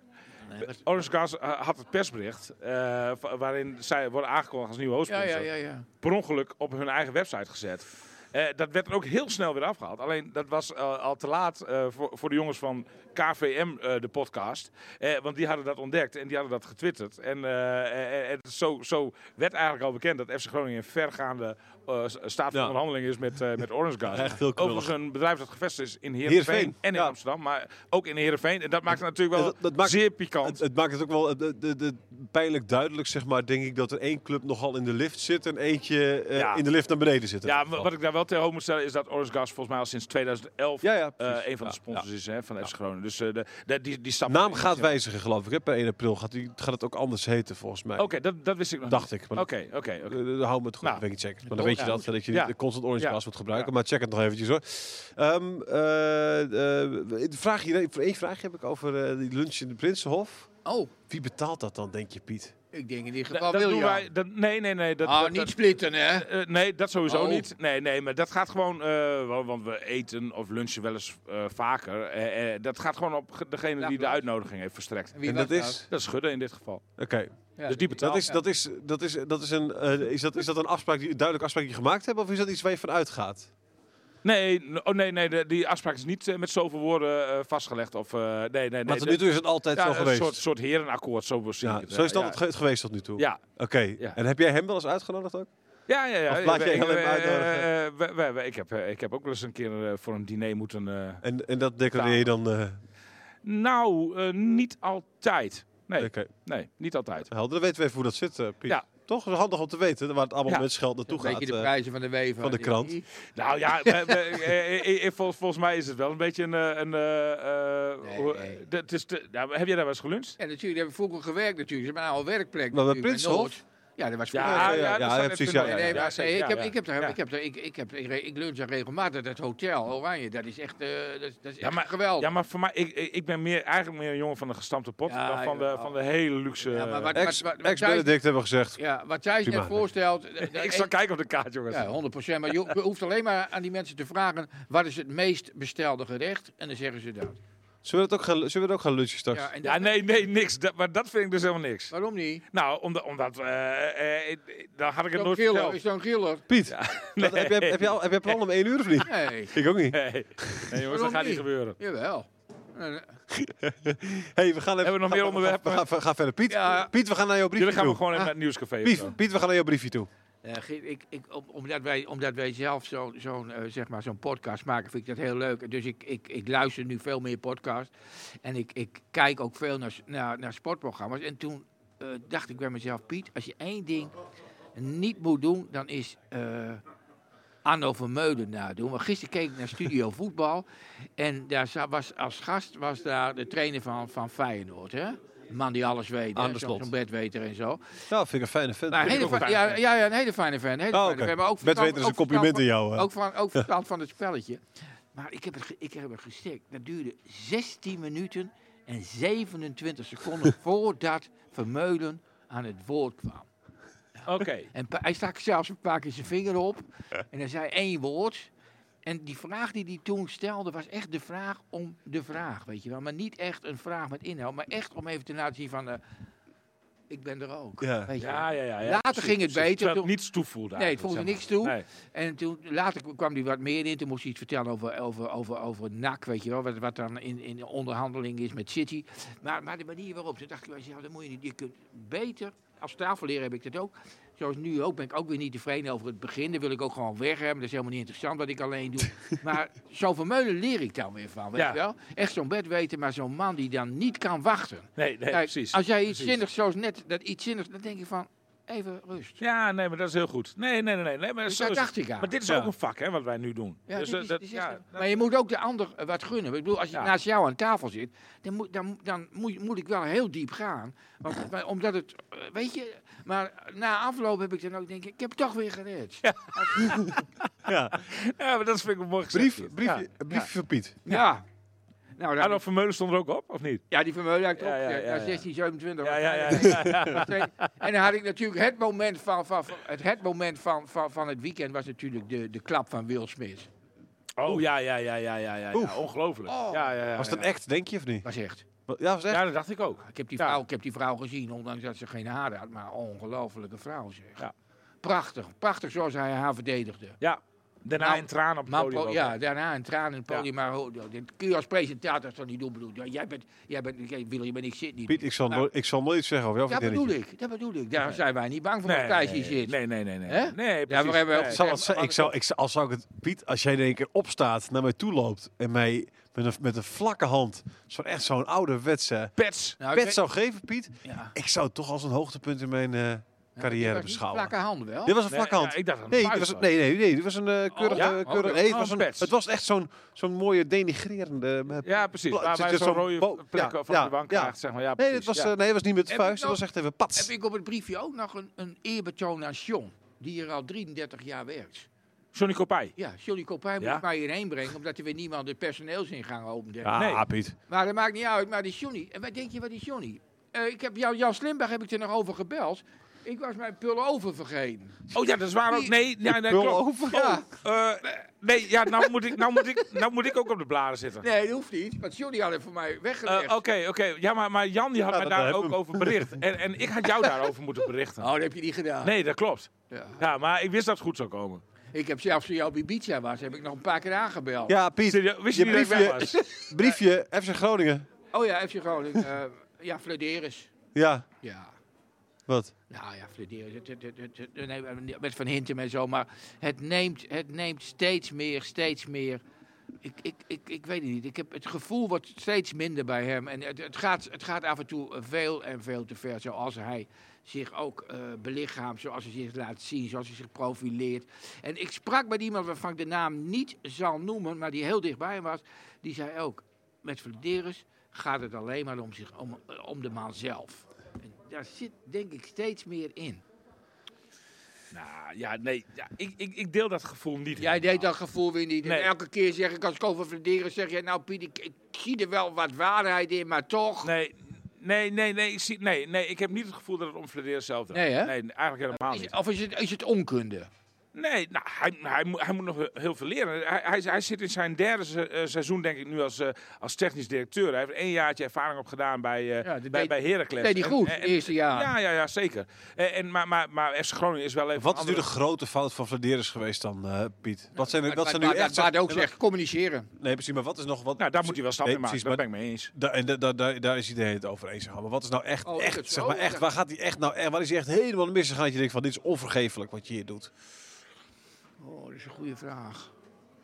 Orange Gas eh, had het persbericht eh, va- waarin zij worden aangekondigd als nieuwe
ja,
hoofdsponsor
ja, ja, ja.
per ongeluk op hun eigen website gezet. Eh, dat werd er ook heel snel weer afgehaald. Alleen dat was eh, al te laat eh, voor, voor de jongens van KVM, eh, de podcast. Eh, want die hadden dat ontdekt en die hadden dat getwitterd. En, eh, eh, eh, zo, zo werd eigenlijk al bekend dat FC Groningen in vergaande eh, s- staat van
Ja.
onderhandeling is met, eh met Orange Guard.
Echt heel knullig.
Overigens een bedrijf dat gevestigd is in Heerenveen,
Heerenveen,
en in
ja.
Amsterdam. Maar ook in Heerenveen. En dat maakt het natuurlijk wel
Dat- dat maakt-
zeer pikant.
Het, het maakt het ook wel eh, de, de, de, pijnlijk duidelijk, zeg maar, denk ik, dat er één club nogal in de lift zit en eentje eh,
Ja.
in de lift naar beneden zit. in
Ja,
ieder
wa-
geval.
wat ik daar wel tegen moet stellen is dat Orange Gas volgens mij al sinds 2011
Ja, ja,
eh,
precies.
een van de
Ja,
sponsors is hè, van FC Groningen. Dus eh, de, de- die, die stap...
Naam gaat wijzigen, geloof ik. Hè? Per 1 april gaat, die, gaat het ook anders heten, volgens mij.
Oké, dat, dat wist ik nog
Dacht ik.
niet.
Maar
Oké, oké. oké.
Eh, eh, hou me het goed, dat
Nou,
weet ik niet zeker. Maar dan weet je
ja,
dat, dat je
Ja.
niet constant orange
Ja.
gas moet gebruiken.
Ja.
Maar check het nog eventjes hoor. Ehm eh, eh, de vraag hier, één vraagje heb ik over eh, die lunch in de Prinsenhof.
Oh,
Wie betaalt dat dan, denk je, Piet?
ik denk in ieder
Dat-
geval
dat doen
William.
wij... Dat, nee, nee, nee. Dat,
ah,
dat-
niet
dat-
splitten, hè?
eh, nee, dat sowieso
Oh.
niet. Nee, nee, maar dat gaat gewoon... eh, wa- want we eten of lunchen wel eens eh, vaker. Eh, eh, dat gaat gewoon op ge- degene die de
Ja.
uitnodiging heeft verstrekt.
Wie
en
was
dat is...
Dat is Gudde in dit geval.
Oké,
Ja, nou.
dus die betaalt.
dat is,
ja.
dat is, dat is, dat is een, eh, is dat, is dat een afspraak die, duidelijke afspraak die je gemaakt hebt? Of is dat iets waar je van uitgaat?
Nee, n- oh, nee, nee de- die afspraak is niet eh, met zoveel woorden eh, vastgelegd. Of, eh, nee, nee, nee.
Maar tot
dat-
nu toe is het altijd
Ja,
zo
een
geweest.
soort, soort herenakkoord, zo zie
ja,
ik het.
zo is het
ja,
altijd ge- geweest tot nu toe.
Ja,
Oké,
Ja.
en heb jij hem wel eens uitgenodigd ook?
ja, ja. ja,
Of laat je
Ik-
alleen
eh,
maar uitnodigen?
eh, eh, we- we- we- ik, heb, eh, ik heb ook wel eens een keer eh, voor een diner moeten... eh,
En, en dat declareer je dan... eh
nou, eh, niet altijd. Nee,
Oké,
nee, niet altijd.
helder. Dan weten we even hoe dat zit, eh, Piet.
Ja.
Toch? Dat is handig om te weten waar het abonnementsgeld
Een
naartoe gaat.
beetje de
eh.
prijzen van de weven.
van de krant.
Nou ja, we- we- eh, eh, eh, vol- volgens mij is het wel een beetje een... eh, een eh, eh,
Nee,
hoe-
nee.
dat is te- nou, heb jij daar wel eens geluncht?
En natuurlijk hebben we vroeger gewerkt natuurlijk. Ze hebben nou al werkplek.
Maar bij
natuurlijk, bij
Prinshof?
Noord. Ja, dat was
Ja,
vroeger.
ja, ja,
dat
ja,
staat
precies, ja,
even-
ja,
Nee, maar
zeker,
nee, ik
ja,
heb,
ja.
ik heb, daar-
Ja.
ik heb, daar- ik, ik heb, ik, ik lunch daar regelmatig. Dat hotel Oranje, dat is echt, eh, dat is, dat is
Ja,
echt
maar-
geweldig.
Ja, maar voor mij, ik, ik ik ben meer, eigenlijk meer een jongen van de gestampte pot
Ja,
dan van de,
jawel.
van de hele luxe... eh,
Ja, maar wat-
Ex-
wat- wat
Ex-Benedict
zij-
hebben we gezegd.
Ja, wat Thijs
Prima.
net voorstelt. eh,
ik zal kijken op de kaart, jongens.
Ja, 100 Maar je ho- je hoeft alleen maar aan die mensen te vragen: wat is het meest bestelde gerecht? En dan zeggen ze dat.
Zullen we dat ook gaan, zullen we dat ook gaan lunchen straks?
Ja, en dat-
Ja, nee, nee, niks. Dat, maar dat vind ik dus helemaal niks.
Waarom niet?
Nou, omdat, omdat eh, eh, dan had ik het
Zo'n
nooit
giller
verteld.
is zo'n giller.
Piet, wat- heb, jij, heb, jij, al- heb jij plan om één uur of niet?
Nee,
Ik ook niet.
Nee, nee jongens,
Waarom
dat gaat niet
niet?
gebeuren.
jawel. Eh,
Hey, we gaan even,
Hebben we
ga-
nog meer
ga-
onderwerpen?
Ga, ga, ga verder. Piet,
Ja.
Piet, we gaan naar jouw briefje
Jullie gaan we
toe.
Ah,
gewoon even naar het nieuwscafé. of zo.
Piet, Piet, we gaan naar jouw briefje toe.
eh, Eh, ge- ik, ik, om- omdat, wij, omdat wij zelf zo- zo'n eh, zeg maar zo'n podcast maken, vind ik dat heel leuk. Dus ik, ik, ik luister nu veel meer podcasts. En ik, ik kijk ook veel naar, s- naar, naar sportprogramma's. En toen eh, dacht ik bij mezelf, Piet, als je één ding niet moet doen, dan is eh Anno Vermeulen nadoen. Want gisteren keek ik naar Studio Voetbal. En daar za- was, als gast was daar de trainer van, van Feyenoord, hè? Een Man die alles weet, hè?
Aan de
Zo-
slot.
zo'n bedweter en zo.
Ja, Nou, vind ik een fijne vent.
Maar Nou, een hele
ook een
fa-
fijne
ja, ja, ja, een hele fijne fan. een Hele
Oh,
fijne
oké.
fan, maar ook
Bedweter
verstand-
is
ook
een compliment
verstand
aan jou, eh. hè?
Ook van, ook verstand van het spelletje. Maar ik heb het, ge- ik heb het gestikt. Dat duurde 16 minuten en 27 seconden voordat Vermeulen aan het woord kwam.
Oké.
En pa- hij stak zelfs een paar keer zijn vinger op. En hij zei één woord. En die vraag die hij toen stelde was echt de vraag om de vraag, weet je wel. Maar niet echt een vraag met inhoud, maar echt om even te laten zien van... eh, ik ben er ook,
Ja.
weet je wel.
Ja, ja, ja, ja.
Later
precies,
ging het
precies.
beter,
Terwijl
toen-
het niets toevoegde.
Nee, het voegde
eigenlijk,
niks
zeg
toe.
maar. Nee.
En toen later k- kwam hij wat meer in. Toen moest hij iets vertellen over, over, over, over NAC, weet je wel. Wat, wat dan in, in onderhandeling is met City. Maar, maar de manier waarop, toen dacht ik, bij mezelf, dat moet je niet. Je kunt beter, als tafelleer heb ik dat ook. Zoals nu ook, ben ik ook weer niet tevreden over het begin. Dat wil ik ook gewoon weg hebben. Dat is helemaal niet interessant wat ik alleen doe. maar zo'n vermeulen leer ik dan weer van, weet
Ja.
je wel. Echt zo'n bed weten, maar zo'n man die dan niet kan wachten.
Nee, nee,
Kijk,
precies.
Als jij iets
precies.
zinnigs, zoals net, dat iets zinnigs, dan denk ik van, even rust.
Ja, nee, maar dat is heel goed. Nee, nee, nee. nee, nee maar
Dus
zo
dat
is het.
dacht ik aan.
Maar dit is
Ja.
ook een vak, hè, wat wij nu doen.
Ja,
dus
dit
eh,
is-
dat,
dit is
ja,
echt-
dat-
maar je moet ook de ander eh, wat gunnen. Ik bedoel, als je
Ja.
naast jou aan tafel zit, dan, moet, dan, dan moet, moet ik wel heel diep gaan. Want, maar omdat het, eh, weet je, maar na afloop heb ik dan ook denk ik, ik heb het toch weer gered. Ja,
Ja.
ja, maar dat vind ik een mooi gezegd.
Brief,
dit.
brief,
Ja.
briefje van Piet.
Nou, dan-
Arno Vermeulen stond er ook op, of niet?
ja die Vermeulen had ik
Ja,
ook,
ja,
ja,
ja, ja.
16, 27.
Ja, ja, ja.
waarschijnlijk. En dan had ik natuurlijk het moment van, van, van- het, het moment van, van, van het weekend was natuurlijk de, de klap van Will Smith.
Oh, ja, ja, ja, ja, ja, ja. ja
Oef.
ongelooflijk.
Oh.
Ja, ja, ja,
Was dat
ja.
echt, denk je, of niet?
Was echt.
Ja, was echt.
Ja, dat dacht ik ook.
Ik heb, die
Ja.
vrouw, ik heb die vrouw gezien, ondanks dat ze geen haar had, maar ongelofelijke vrouw zeg.
Ja.
Prachtig, prachtig zoals hij haar verdedigde.
Ja, daarna
Nou,
een traan op het
Maar
podium.
po-
ook, hè.
ja, daarna een traan in het
Ja.
podium, maar ho- dit kun je als presentator toch niet doen. Bedoel, ja, jij bent, jij bent, jij, William en ik zit niet.
Piet, ik zal,
Nou,
nooit- ik zal nooit zeggen over jouw
dat
vriendinnetje.
bedoel ik, dat bedoel ik. Daar zijn wij niet bang voor
Nee,
als Thijs
nee,
hier zit.
Nee, nee, nee. nee. Nee,
Hè? maar we
precies.
hebben wel
Nee.
Zal het zijn- ik zou, ik zou, als zou ik het, Piet, als jij in één keer opstaat, naar mij toe loopt en mij met een, met een vlakke hand, zo echt zo'n ouderwetse
Pets.
Nou, ik
pet
weet-
zou geven, Piet,
ja.
ik zou het toch als een hoogtepunt in mijn eh,
Dit was
carrière
niet
beschouwen.
Vlakke handen wel.
Dit was een
Nee,
vlakke hand.
ja, ik dacht dat het
Nee,
een
dit was,
vuist
nee, nee, nee, dit was een eh, keurig...
ja?
eh,
Oh,
keurig
oké.
nee, het,
Oh,
was een,
pets.
het was echt zo'n zo'n mooie denigrerende... eh,
Ja, precies.
pla-
Waar
zit
wij
er
zo'n rode
bo-
plek
ja,
van
ja,
de bank
ja.
krijgt, zeg maar. Ja,
Nee,
precies.
dit was,
ja.
eh, nee, het was niet met de
Heb ik
vuist, het
nog-
was echt even pats.
Heb ik op het briefje ook nog een, een eerbetoon aan John, die hier al 33 jaar werkt.
Johnny Kopij.
Ja, Johnny Copijn
Ja?
moet mij hierheen brengen, omdat er weer niemand de personeelsingang opent.
Ja,
Nee.
Piet.
Maar dat maakt niet uit, maar die Johnny. En wat denk je, wat is Johnny? Eh, ik heb jou, Jan Slimberg heb ik er nog over gebeld. Ik was mijn pullover vergeten.
Oh ja, dat is waar ook.
Die-
Nee, ja, nee,
Pul
klopt.
over.
Ja.
Eh, nee, ja, nou moet, ik, nou, moet ik, nou moet ik ook op de bladen zitten.
Nee, dat hoeft niet, want Johnny had het voor mij
Eh,
weggelegd.
Oké, oké. Ja, maar, maar Jan die had
Ja,
mij
dat
daar
hebben
ook
we.
over bericht. En, en ik had jou daarover moeten berichten.
Oh, dat heb je niet gedaan.
Nee, dat klopt.
Ja.
Ja, maar ik wist dat het goed zou komen.
Ik heb zelfs toen jou op Ibiza was, heb ik nog een paar keer aangebeld.
Ja, Piet,
Serieus, Wist je,
je
niet dat ik weg
briefje,
was?
briefje FC Groningen.
Oh ja, FC Groningen. eh ja, Flederis.
Ja,
Ja.
wat?
Nou ja, Flederis. Het, het, het, het- het- nee, met Van Hintem en zo. Maar het neemt, het neemt steeds meer, steeds meer. Ik, ik, ik, ik weet het niet. Ik heb het gevoel wordt steeds minder bij hem. En het, het, gaat, het gaat af en toe veel en veel te ver. Zoals hij zich ook eh, belichaamt. Zoals hij zich laat zien. Zoals hij zich profileert. En ik sprak met iemand waarvan ik de naam niet zal noemen. Maar die heel dichtbij hem was. Die zei ook. Met Vladeris gaat het alleen maar om, zich, om, om de man zelf. En daar zit denk ik steeds meer in.
Nou, ja, nee. Ja, ik, ik, ik deel dat gevoel niet.
Jij
helemaal.
deed dat gevoel weer niet. En
Nee.
elke keer zeg ik, als ik over Vladeris zeg, jij, nou Piet, ik, ik zie er wel wat waarheid in, maar toch.
Nee, nee, nee, nee, ik zie, nee, nee. Ik heb niet het gevoel dat het om Fladeer zelf draait.
Nee, hè?
Nee, eigenlijk helemaal niet.
Is- of is het, is het onkunde?
Nee, nou, hij, hij, moet- hij moet nog heel veel leren. Hij, hij, hij zit in zijn derde se- eh, seizoen, denk ik, nu als, eh, als technisch directeur. Hij heeft één jaartje ervaring op gedaan bij, eh,
Ja, dit
bij,
deed-
bij Heracles.
deed hij
En-
goed,
en-
eerste jaar.
Ja, ja, ja zeker. En, en, maar, maar, maar FC Groningen is wel even...
Wat is nu
andere-
de grote fout van Vladeris geweest dan, eh, Piet? Wat zijn, er- dat
Wat-
zijn
wat-
nu echt...
Wat Bart ook
Nee,
zegt, communiceren.
Nee, precies, maar wat is nog... Wat,
Nou, daar moet hij wel stappen
Nee,
in maken.
precies,
Daar
maar-
ben
Daar,
ik mee eens.
en da- da- daar- daar is iedereen het over eens. zeg Maar wat is nou echt,
Oh, is het
echt,
zo?
zeg maar echt,
Ja.
waar gaat hij echt nou, echt- waar is hij echt helemaal misgegaan? Dat je denkt van, dit is onvergeeflijk wat je hier doet.
Oh, dat is een goede vraag.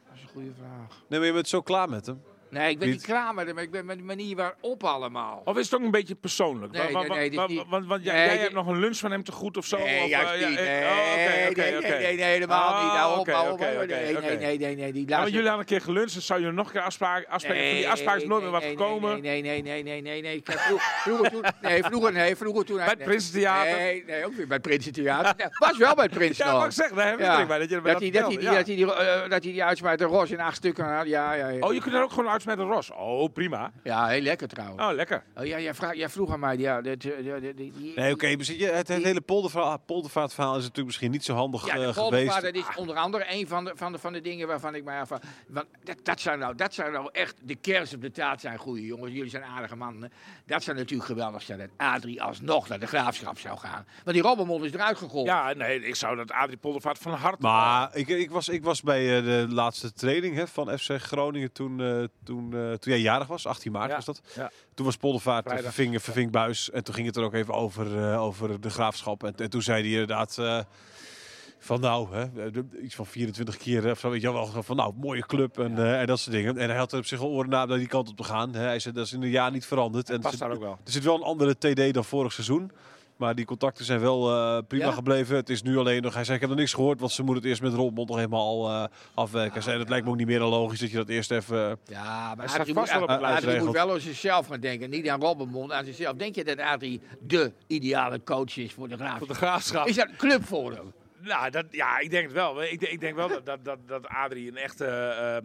Dat is een goede vraag.
Nee, maar je bent zo klaar met hem.
Nee, ik ben
Niet-
niet klaar met hem, maar ik ben met de manier waarop allemaal.
Of is het ook een beetje persoonlijk? Wa-
Nee,
wa-
nee, nee, dit is
wa-
niet-
wa- Want, want jij,
Nee,
jij
dit-
hebt nog een lunch van hem te goed of zo?
Nee,
of,
juist
eh, ja,
niet.
eh,
Nee,
oh, oké, oké,
nee,
oké.
nee, nee, nee, helemaal
Ah,
niet. Nou, op,
oké,
hou op,
oké,
hou op.
oké,
Nee,
oké.
nee, nee, nee,
Ja,
nee, die laatste...
want jullie hadden een keer geluncht, dan zou je nog een keer afspraken... afspraken van die afspraak is nooit meer wat
nee,
gekomen.
Nee, nee, nee, nee, nee, nee. Kijk, vro- vroeger toen... Nee, vroeger, nee, vroeger toen... hij-
Bij het
nee.
Prinsentheater.
Nee, nee, ook weer bij het Prinsentheater. Nee, was wel bij het Prinsen
Ja,
nog.
mag ik zeggen, daar heb ik
Ja.
ja. bij. Dat je me
Dat hij, dat, hij,
vertelde,
die-
ja.
dat, hij die, eh, dat hij die uitsmaait, de ros in acht stukken had. Ja, ja, ja.
Oh, je kunt er ook gewoon uit met een ros. Oh, prima.
ja, heel lekker trouwens.
Oh, lekker.
Oh, ja, jij, vraag, jij vroeg aan mij. Ja, dit, eh, die- die- die-
Nee, oké, maar zie je, het, het hele polderverhaal, poldervaartverhaal is natuurlijk misschien niet zo handig
Ja,
eh,
de
geweest.
golfvader is onder andere een van de, van de, van de dingen waarvan ik mij afvraag. Want dat, dat, zou nou, dat zou nou echt de kers op de taart zijn, goede jongens. Jullie zijn aardige mannen. Dat zou natuurlijk geweldig zijn dat Adrie alsnog naar de graafschap zou gaan. Want die Robbenmond is eruit gegolfd.
Ja, nee, ik zou dat Adrie Poldervaart van harte...
Maar ik, ik, was, ik was bij eh, de laatste training hè, van FC Groningen toen, eh, toen, eh, toen jij jarig was, 18 maart
Ja,
was dat.
ja.
Toen was Poldervaart eh,
Vrijdag.
verving, verving buis en toen ging het er ook even over, eh, over de graafschap. En, en toen zei hij inderdaad eh, van nou, hè, de- iets van 24 keer eh, of zo, weet je wel, van nou, mooie club en, eh, en dat soort dingen. En hij had er op zich al oren na om naar die kant op te gaan. Hè. Hij zei dat is in een jaar niet veranderd. En er
past
zit-
daar ook wel.
Er zit wel een andere TD dan vorig seizoen. Maar die contacten zijn wel eh, prima
Ja?
gebleven. Het is nu alleen nog... Hij zei, ik heb nog niks gehoord, want ze moeten het eerst met Robmond nog helemaal eh, afwerken. Hij zei, dat lijkt me ook niet meer dan logisch dat je dat eerst even... eh,
Ja, maar
staat
Adrie moet,
vast wel op het
Adrie
lijstje.
moet wel aan zichzelf gaan denken. Niet aan Robbenmond, aan zichzelf. Denk je dat Adrie de ideale coach is voor de
Van de
graafschap?
graafschap.
Is dat een club voor hem?
Nou, dat, ja, ik denk het wel. Ik, denk- ik denk wel dat, dat, dat, dat Adrie een echte eh,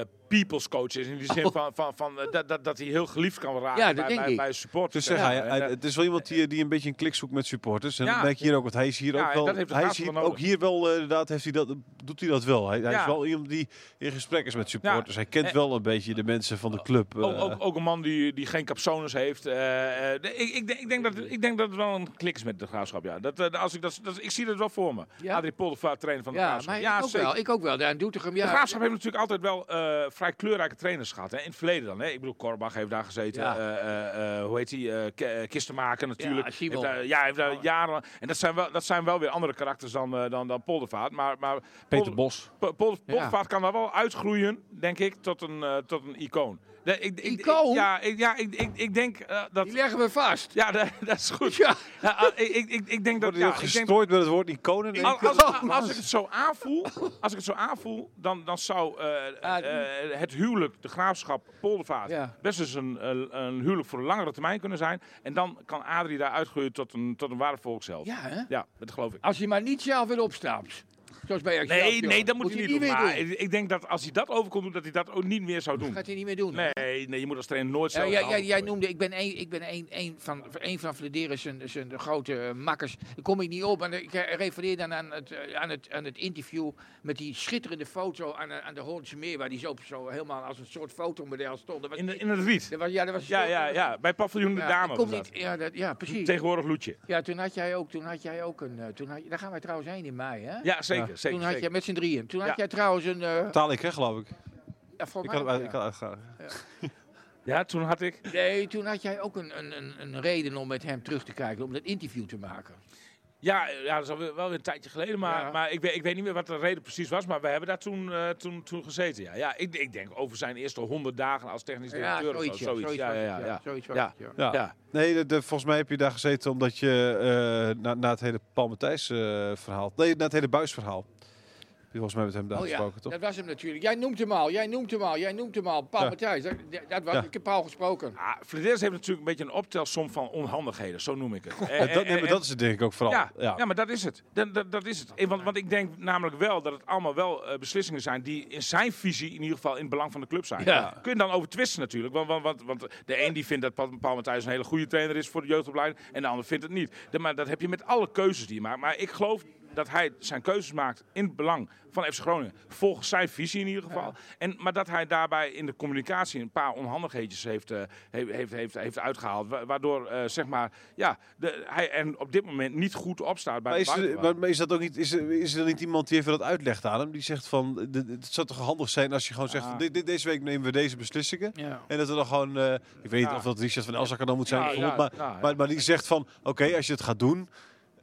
eh, people's coach is. In die zin van, van, van, eh, dat, dat, dat hij heel geliefd kan raken
Oh. Ja, dat
bij,
denk
bij,
ik.
bij supporters.
Dus zeg
Ja,
hij,
en,
hij-
eh,
het is wel iemand die, die een beetje een klik zoekt met supporters. En
Ja.
dat merk je hier ook, want hij is hier
Ja,
ook
en
wel...
dat heeft de
hij is
graafschap
hier,
wel
ook
nodig.
hier wel, eh, inderdaad, heeft hij dat, doet hij dat wel. Hij, hij
Ja.
is wel iemand die in gesprek is met supporters. Hij kent
En- Oh,
wel een beetje de mensen van de club. eh.
Ook, ook, ook een man die, die geen capsones heeft. eh, eh, de- ik, ik, denk- ik, denk dat, ik denk dat het wel een klik is met de graafschap. Ja. Dat, eh, als ik, dat, dat, ik zie dat wel voor me.
Ja.
Adrie Poldervaart, trainer van de
Ja,
graafschap.
maar ik ook wel. Ik ook wel. Daar doet hem.
De
Ja,
Graafschap heeft natuurlijk altijd wel eh, vrij kleurrijke trainers gehad. Hè? In het verleden dan. Hè? Ik bedoel, Korbach heeft daar gezeten.
Ja.
Eh, eh, eh, hoe heet die? Eh, K- eh, Kistenmaker natuurlijk.
Ja, Simon.
Heeft daar- ja, heeft daar jaren... En dat zijn, wel, dat zijn wel weer andere karakters dan, eh, dan, dan Poldervaart. Maar, maar
Peter
Polder-
Bos.
Po- Pol- Poldervaart
Ja.
kan daar wel uitgroeien, denk ik, tot een, eh, tot een icoon. De- ik- ik-
Icoon?
ja, ik, ja, ik, ik, ik denk eh, dat...
die leggen we vast.
Ja, dat, dat is goed.
Ja.
Ja, ah, ik, ik, ik, ik denk dat...
Wordt
Ja,
hij ook
ik denk,
gestrooid met het woord iconen?
als, als, als ik het zo aanvoel, als ik het zo aanvoel, dan, dan zou eh,
Ah,
eh, het huwelijk, de graafschap Poldervaart,
Ja.
best eens een, eh, een huwelijk voor een langere termijn kunnen zijn. En dan kan Adrie daar uitgroeien tot een, tot een ware volksheld.
Ja, hè?
ja, dat geloof ik.
Als hij maar niet zelf weer opstapt. Zoals bij Excelsior.
Nee, nee, dat moet, hij niet doen.
meer
Maar ik ik denk dat als hij dat over kon doen, dat hij dat ook niet meer zou doen.
Gaat hij niet meer doen.
Nee, nee, je moet als trainer nooit
Ja,
zelf
jij-
gaan
jij, jij
opgroeien.
noemde, ik ben een, ik ben een, een van, een van Vlederen zijn, zijn grote eh, makkers. Daar kom ik niet op. En ik eh, refereer dan aan het, eh, aan het, aan het interview met die schitterende foto aan, eh, aan de Hollandse Meer. Waar die zo, zo helemaal als een soort fotomodel stond. Dat was,
In, de- in het riet.
dat was, ja, dat was
Ja, ja, ja. Bij paviljoen de
Ja,
dame was
ik kom
dat.
niet, ja, dat, ja, precies.
Tegenwoordig Loetje.
Ja, toen had jij ook, toen had jij ook een... eh, Toen had, je- daar gaan wij trouwens heen in mei, hè?
Ja, zeker. zeker,
toen had
zeker.
jij met z'n drieën. Toen
Ja.
had jij trouwens een... eh,
Taal ik, hè, geloof ik.
ja, volgens
Ik
mij
had het
ook,
uit-
ja.
ik had het uitgegaan.
Ja, toen had ik...
Nee, toen had jij ook een, een, een, een reden om met hem terug te kijken, om dat interview te maken.
Ja, ja, dat is alweer, wel weer een tijdje geleden. Maar,
Ja.
maar ik, weet, ik weet niet meer wat de reden precies was. Maar we hebben daar toen, eh, toen, toen gezeten. Ja, ja ik, ik denk over zijn eerste 100 dagen als technisch
Ja,
directeur. of zo,
zoiets. ja, Zoiets
Ja,
was
ja,
het,
ja, ja.
Zoiets was
Ja.
het, ja.
Ja.
Ja.
Nee, de, de- volgens mij heb je daar gezeten omdat je eh, na, na het hele Paul Matthijs eh, verhaal... Nee, na het hele Buis-verhaal. Heb je Volgens mij met hem daar
Oh ja,
gesproken, toch?
dat was hem natuurlijk. Jij noemt hem al, jij noemt hem al, jij noemt hem al. Paul
Ja.
Matthijs, dat, dat- dat was,
Ja.
ik heb Paul gesproken.
Ah, Flederis heeft natuurlijk een beetje een optelsom van onhandigheden. Zo noem ik het. Eh,
Ja, dat,
eh,
nee, maar
eh,
dat is het denk ik ook vooral.
Ja,
Ja,
ja. maar dat is het. Dat, dat, dat is het. Eh, Want, want ik denk namelijk wel dat het allemaal wel eh, beslissingen zijn die in zijn visie in ieder geval in het belang van de club zijn.
Ja.
Kun je dan over twisten natuurlijk. Want, want, want, want de een die vindt dat Paul Paul Matthijs een hele goede trainer is voor de jeugdopleiding en de ander vindt het niet. De- maar dat heb je met alle keuzes die je maakt. Maar ik geloof dat hij zijn keuzes maakt in het belang van FC Groningen. Volgens zijn visie in ieder geval. En, maar dat hij daarbij in de communicatie een paar onhandigheidjes heeft, eh, he- heeft, heeft, heeft uitgehaald. wa- Waardoor eh, zeg maar, ja, de, hij en op dit moment niet goed opstaat
Maar
bij de
is, er,
buitenwacht.
maar maar is, dat ook niet, is, er, is er niet iemand die even dat uitlegt aan hem? Die zegt van, d- d- het zou toch handig zijn als je gewoon zegt...
Ah.
van, dit- dit- deze week nemen we deze beslissingen.
Ja.
En dat er dan gewoon, eh, ik weet
Ja.
niet of dat Richard van Elzakker dan moet zijn,
Ja,
bijvoorbeeld,
ja,
maar,
ja, ja.
Maar, maar die zegt van, oké, als je het gaat doen,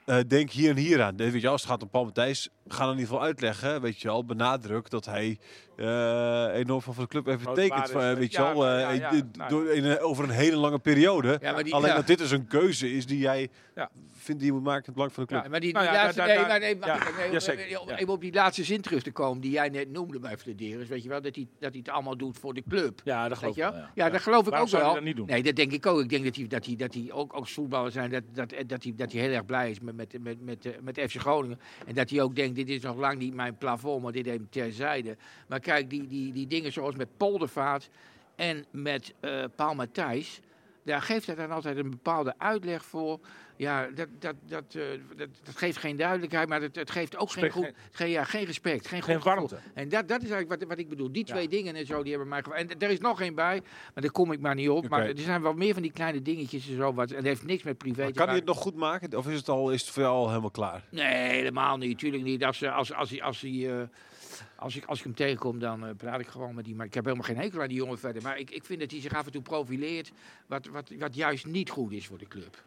eh, denk hier en hier aan. Weet je, wel, als het gaat om Paul Matthijs, ga dan in ieder geval uitleggen, weet je wel, benadruk dat hij eh, enorm veel voor de club heeft
Groot
betekend,
waarde
van,
is,
eh,
eh,
weet je
ja,
wel,
maar ja,
eh,
ja,
dit-
nou ja.
door- in, eh, over een hele lange periode.
Ja, maar die-
Alleen
ja.
dat dit dus een keuze is die jij
Ja.
vindt die je moet maken in het belang van de club.
Maar die, die
Nou ja,
laatste,
daar-
nee,
daar-
maar nee, maar-
ja,
nee, om-
jazeker,
om-
ja.
even op die laatste zin terug te komen die jij net noemde bij Flederis, weet je wel, dat hij, dat hij het allemaal doet voor de club.
Ja, dat
Weet
geloof
je
ik.
wel?
wel,
Ja, dat geloof ik
Waarom
ook
zou hij
wel.
dat niet doen?
Nee, dat denk ik ook. Ik denk dat hij, dat hij, dat hij ook als voetballer zijn, dat, dat, dat, hij, dat hij heel erg blij is met, met, met, met, eh, met FC Groningen. En dat hij ook denkt, dit is nog lang niet mijn plafond, maar dit even terzijde. Maar kijk, die, die, die dingen zoals met Poldervaart en met eh Paul Matthijs, daar geeft hij dan altijd een bepaalde uitleg voor. Ja, dat, dat, dat, eh, dat, dat geeft geen duidelijkheid, maar het, het geeft ook geen,
Respect,
goed, geen, ja, geen respect, geen,
Geen
goed gevoel.
warmte.
En dat, dat is eigenlijk wat, wat ik bedoel. Die twee dingen en zo, die hebben mij... gewa- En d- er is nog één bij, maar daar kom ik maar niet op. Maar
Oké.
er zijn wel meer van die kleine dingetjes en zo. Wat, en dat heeft niks met privé
Maar
te
kan hij
maken.
het nog goed maken? Of is het, al, is het voor jou al helemaal klaar?
Nee, helemaal niet. Tuurlijk niet. Als, eh, als, als, als, hij, eh, als, ik, als ik hem tegenkom, dan eh, praat ik gewoon met die. Maar ik heb helemaal geen hekel aan die jongen verder. Maar ik, ik vind dat hij zich af en toe profileert. Wat, wat, wat juist niet goed is voor de club.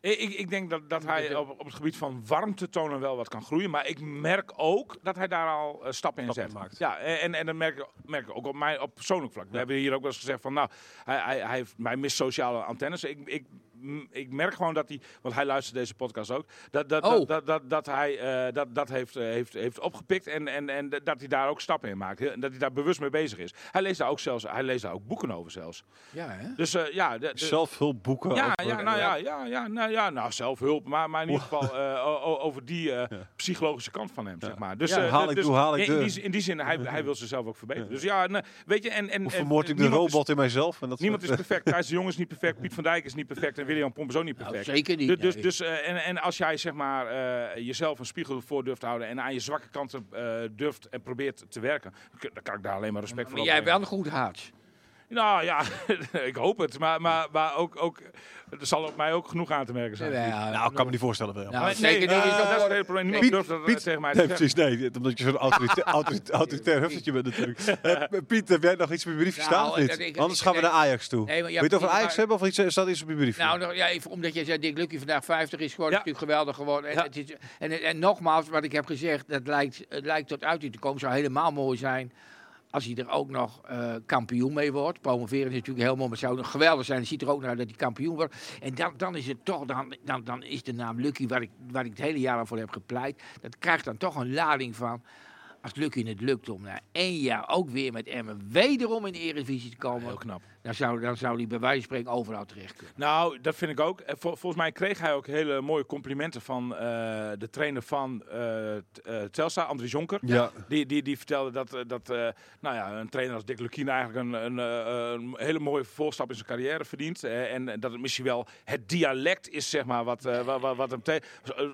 Ik, ik, ik denk dat, dat hij op, op het gebied van warmte tonen wel wat kan groeien. Maar ik merk ook dat hij daar al eh, stappen in
Stappen
zet.
maakt.
Ja, en, en dat merk ik, merk ik ook op, mij, op persoonlijk vlak. We hebben hier ook wel eens gezegd van, nou, hij, hij, hij, heeft, hij mist sociale antennes. Ik, ik, m- ik merk gewoon dat hij, want hij luistert deze podcast ook, dat, dat,
Oh.
dat, dat, dat, dat hij eh, dat, dat heeft, eh, heeft, heeft opgepikt en, en, en dat hij daar ook stappen in maakt. En dat hij daar bewust mee bezig is. Hij leest daar ook, zelfs, hij leest daar ook boeken over zelfs.
Ja, hè?
Dus eh, ja, de- de-
Zelfhulpboeken.
ja,
over-
ja, nou ja, ja, ja, nou ja, nou zelfhulp, maar, maar in ieder geval eh, o- o- over die eh, psychologische kant van hem, zeg maar. Dus,
Ja,
eh,
haal
dus-
ik doe, haal ik
in, in
doe.
die, zin- in die zin, hij, hij wil zichzelf ook verbeteren. Dus ja, nee, weet je, en... en
Hoe
en
vermoord ik de
niemand is-
robot in mijzelf? En dat
Niemand is
soort-
perfect. Thijs de Jong is niet perfect. Piet van Dijk is niet perfect. En William Pomp is ook niet
Nou,
perfect.
zeker niet,
Du- Dus,
nee.
dus, eh, en, en als jij zeg maar, eh, jezelf een spiegel voor durft te houden. en aan je zwakke kanten eh, durft en probeert te werken. k- dan kan ik daar alleen maar respect
Maar
voor
jij hebt
opbrengen.
wel een goed hart.
Nou ja, ik hoop het. Maar, maar, maar ook, ook, er zal op mij ook genoeg aan te merken zijn.
Ja,
Nou, ik kan me niet voorstellen, William.
Nou,
Maar
zeker
nee,
niet.
eh,
Is
dat is het
dat
hele probleem. Niemand
Piet,
durft dat eh,
Piet,
tegen mij te
nee,
zeggen.
precies, nee. Omdat je zo'n autoritair, autoritair, autoritair huffertje bent natuurlijk. Eh, Piet, heb jij nog iets op je briefje
Nou,
staan of
eh,
niet?
dat ik-
Anders
ik-
gaan we
nee.
naar Ajax toe.
Nee, maar
Wil
ja,
je het over
maar-
Ajax hebben of iets, eh, staat iets op je briefje?
Nou, nog- ja, even omdat jij zei, Dick Lucky vandaag 50 is gewoon
Ja.
natuurlijk geweldig geworden. En,
Ja.
het is, en, en nogmaals, wat ik heb gezegd, dat lijkt, het lijkt tot uiting te komen. Zou helemaal mooi zijn als hij er ook nog eh, kampioen mee wordt. Promoveren is natuurlijk heel mooi, maar het zou nog geweldig zijn. Het ziet er ook naar dat hij kampioen wordt. En dan, dan is het toch, dan, dan, dan is de naam Lucky, waar ik, waar ik het hele jaar al voor heb gepleit, dat krijgt dan toch een lading van. Als Lucky het lukt om na één jaar ook weer met Emmen wederom in de Eredivisie te komen,
Heel knap.
dan zou, dan zou hij bij wijze van spreken overal terecht kunnen.
Nou, dat vind ik ook. Eh, vol- volgens mij kreeg hij ook hele mooie complimenten van eh, de trainer van eh t- eh, Telstra, Andries Jonker.
ja.
Die, die, die vertelde dat, eh, dat eh, nou ja, een trainer als Dick Lukien eigenlijk een, een, eh, een hele mooie voorstap in zijn carrière verdient. Eh, en dat het misschien wel het dialect is, zeg maar, wat, eh, wa- wa- wat hem tegen...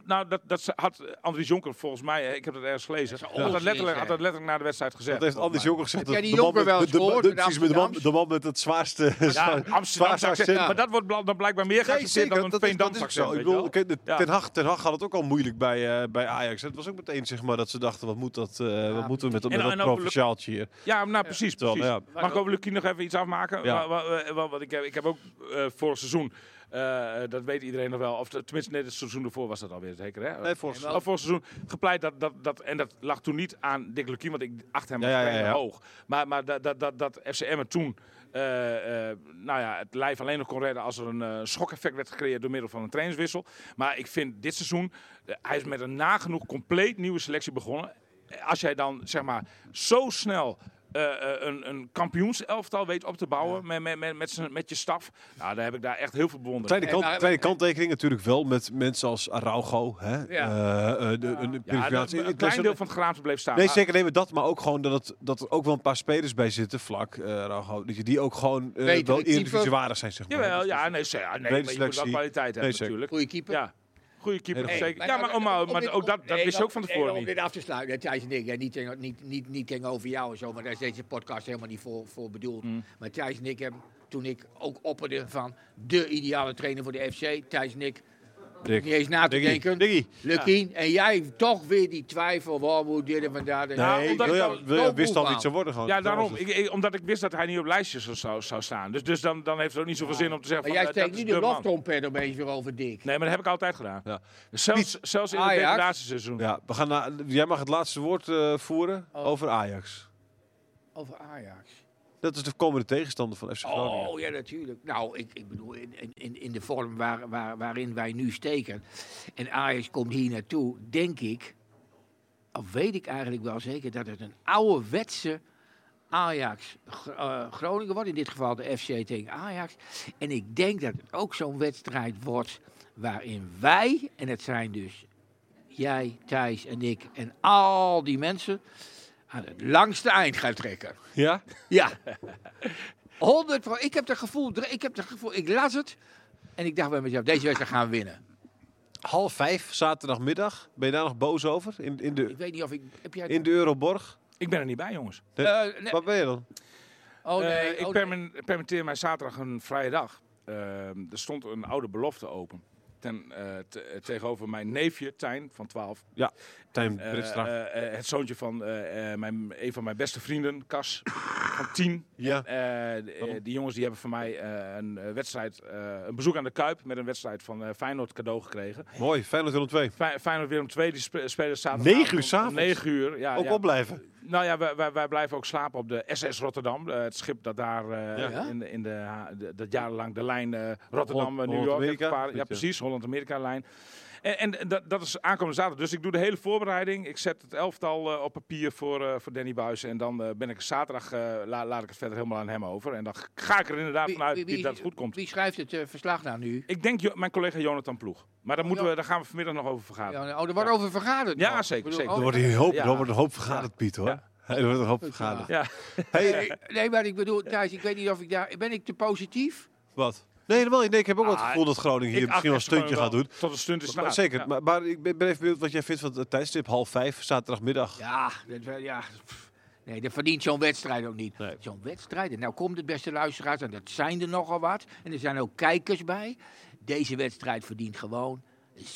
nou, dat, dat had Andries Jonker volgens mij, eh, ik heb dat ergens gelezen,
Dat is
had, dat
onzin,
letterlijk,
hè?
had dat letterlijk na de wedstrijd gezegd.
Dat heeft Anders
volgens mij.
Jonker gezegd.
nou, Heb jij die
de man
jonker
met-
wel eens
de- de-
gehoord,
de-
in
precies, met de man-
Amsterdam?
De man met het zwaarste
Ja,
zwaar-
Amsterdamse
zwaarste
accent.
accent.
Maar dat wordt bla- dan blijkbaar meer
Nee,
geaccepteerd
zeker.
dan een
Dat is, dat
Veendamse
is ook
accent.
zo. Ik
weet je wel.
bedoel, kijk, de-
Ja.
ten, Hag, ten Hag had het ook al moeilijk bij, eh, bij Ajax. Het was ook meteen zeg maar, dat ze dachten, wat, moet dat, eh, wat moeten we met, dat-
En-
met
en
dat
ook Lu-
provinciaaltje hier?
Ja, nou precies.
Terwijl,
precies.
nou
Mag ik over Lucky nog even iets afmaken?
Ja.
Wa- wa- wa- wa- Want ik heb, ik heb ook eh, vorig seizoen, eh, dat weet iedereen nog wel, of t- tenminste net het seizoen ervoor was dat alweer zeker. Hè?
Nee, vorig
Al vorig seizoen gepleit dat, dat, dat, en dat lag toen niet aan Dick Lukien, want ik acht hem
Ja,
als
ja, ja,
trainer
ja.
hoog. Maar, maar dat, dat, dat, dat FCM er toen eh, eh, nou ja, het lijf alleen nog kon redden als er een eh, schokeffect werd gecreëerd door middel van een trainingswissel. Maar ik vind dit seizoen, eh, hij is met een nagenoeg compleet nieuwe selectie begonnen. Eh, Als jij dan zeg maar zo snel eh, eh, een, een kampioenselftal weet op te bouwen met, met, met, met, z'n- met je staf, nou, daar heb ik daar echt heel veel bewondering
Kleine,
Nee,
kant,
maar-
eh,
kleine kanttekening natuurlijk wel met mensen als Araujo. Hè? Eh, eh, de- een- een
voor. Ja, dat-
perforatie-
een
Ik
klein
was-
deel van het geraamte bleef staan. Ah,
Nee,
Maar-
zeker nee, maar dat, maar ook gewoon dat, het, dat er ook wel een paar spelers bij zitten, vlak, eh Araujo, dat je die ook gewoon eh,
Betere
wel
type.
individueel waardig zijn, zeg maar.
Jawel, ja, Ah, nee, ze- ja, nee, maar je moet wel
selectie.
kwaliteit hebben
zeker.
natuurlijk.
Goeie keeper.
Ja. Goede keeper.
Hele
zeker.
Maar-
Ja, maar, oh, maar,
om
maar
dit-
ook dat, dat
nee,
wist je ook van
nee,
tevoren
Om
niet.
dit af te sluiten, Thijs en ik, hè, niet, tegen- niet, niet, niet tegenover jou en zo, maar daar is deze podcast helemaal niet voor, voor bedoeld.
Mm.
Maar Thijs en ik hebben, toen ik ook opperde van de ideale trainer voor de FC, Thijs en ik,
Dick.
niet eens na te denken.
Diggy.
Lukien, en jij toch weer die twijfel, waarom moet dit en vandaar. en-
Nou,
Nee,
omdat ik
William,
al-
William
zo
wist al
boel
niet zo worden gewoon.
Ja, daarom.
Dat
Ik, ik- omdat ik wist dat hij niet op lijstjes zou- zou, zou staan. Dus, dus dan, dan heeft het ook niet zoveel zin om te zeggen
Maar
van,
jij
eh,
steekt
dat
nu
is
de
man.
loftrompet opeens weer over Dick.
Nee, maar dat heb ik altijd gedaan.
Ja.
Zelfs, zelfs in het
Ajax.
degradatieseizoen.
Ja, we gaan naar, jij mag het laatste woord eh, voeren
Oh.
over Ajax.
Over Ajax.
Dat is de komende tegenstander van FC Groningen.
Oh ja, natuurlijk. Nou, ik, ik bedoel, in, in- in, in de vorm waar, waar, waarin wij nu steken. En Ajax komt hier naartoe, denk ik. Of weet ik eigenlijk wel zeker dat het een ouderwetse Ajax Gr- eh, Groningen wordt. In dit geval de FC tegen Ajax. En ik denk dat het ook zo'n wedstrijd wordt waarin wij, en het zijn dus jij, Thijs en ik en al die mensen, aan het langste eind gaan trekken.
Ja?
Ja. 100 pro- Ik heb het gevoel, ik heb het gevoel, ik las het. En ik dacht bij mezelf, deze wedstrijd gaan we winnen.
Half vijf, zaterdagmiddag. Ben je daar nog boos over? In, in, de,
Ik weet niet of ik, heb jij...
in de Euroborg?
Ik ben er niet bij, jongens.
Nee.
Eh, nee.
Wat ben je dan?
Oh nee,
Eh,
oh,
ik
nee.
permen- permitteer mij zaterdag een vrije dag. Eh, er stond een oude belofte open. Ten, eh, te- eh, tegenover mijn neefje, Tijn, van 12.
Ja, Tijn
Eh,
Britstra.
eh, eh, het zoontje van eh, eh, mijn, een van mijn beste vrienden, Cas, van 10.
ja.
Eh, d- eh, die jongens die hebben van mij eh, een eh, wedstrijd, eh, een bezoek aan de Kuip met een wedstrijd van eh, Feyenoord cadeau gekregen.
Mooi, Feyenoord Willem 2.
Fey- Feyenoord Willem II, die spe- spelen zaterdag.
Negen uur s'avonds?
9 uur, ja.
Ook
ja.
opblijven.
Nou ja, wij, wij, wij blijven ook slapen op de SS Rotterdam. eh, het schip dat daar eh,
Ja.
in, de- in de, ha- de- dat jarenlang de lijn eh, Rotterdam, eh, New York. heeft
Holland-Amerika,
gevaren. ja,
zoiets, ja.
precies, Holland-Amerika-lijn. En, en dat, dat is aankomende zaterdag. Dus ik doe de hele voorbereiding. Ik zet het elftal eh, op papier voor, eh, voor Danny Buis. En dan eh, ben ik zaterdag, eh, la- laat ik het verder helemaal aan hem over. En dan ga ik er inderdaad
Wie-
vanuit
wie- wie-
dat het goed komt.
Wie schrijft het eh, verslag nou nu?
Ik denk jo- mijn collega Jonathan Ploeg. Maar daar, moeten
Oh, ja.
we, daar gaan we vanmiddag nog over vergaderen.
Ja, oh, er wordt over vergaderd.
Ja,
nog. Ik
zeker, zeker.
oh,
Er wordt een hoop,
Ja.
er wordt een hoop vergaderd, Piet, hoor.
Ja.
Er wordt een hoop
Ja.
vergaderd.
Ja.
Hey,
nee, nee, maar ik bedoel, Thijs, ik weet niet of ik daar... Ben ik te positief?
wat? Nee, helemaal niet. Nee, ik heb ook wel het
Ah,
gevoel dat Groningen hier
Ik acht
misschien wel een
echt gewoon
stuntje gaat doen.
Tot een stunt is
Maar,
na.
zeker,
Ja.
maar, maar ik ben ben even benieuwd wat jij vindt van het tijdstip half vijf, zaterdagmiddag.
Ja, dat, wel- ja pff. nee, dat verdient zo'n wedstrijd ook niet.
Nee.
Zo'n wedstrijd, en nou komt het beste luisteraars, en dat zijn er nogal wat. En er zijn ook kijkers bij. Deze wedstrijd verdient gewoon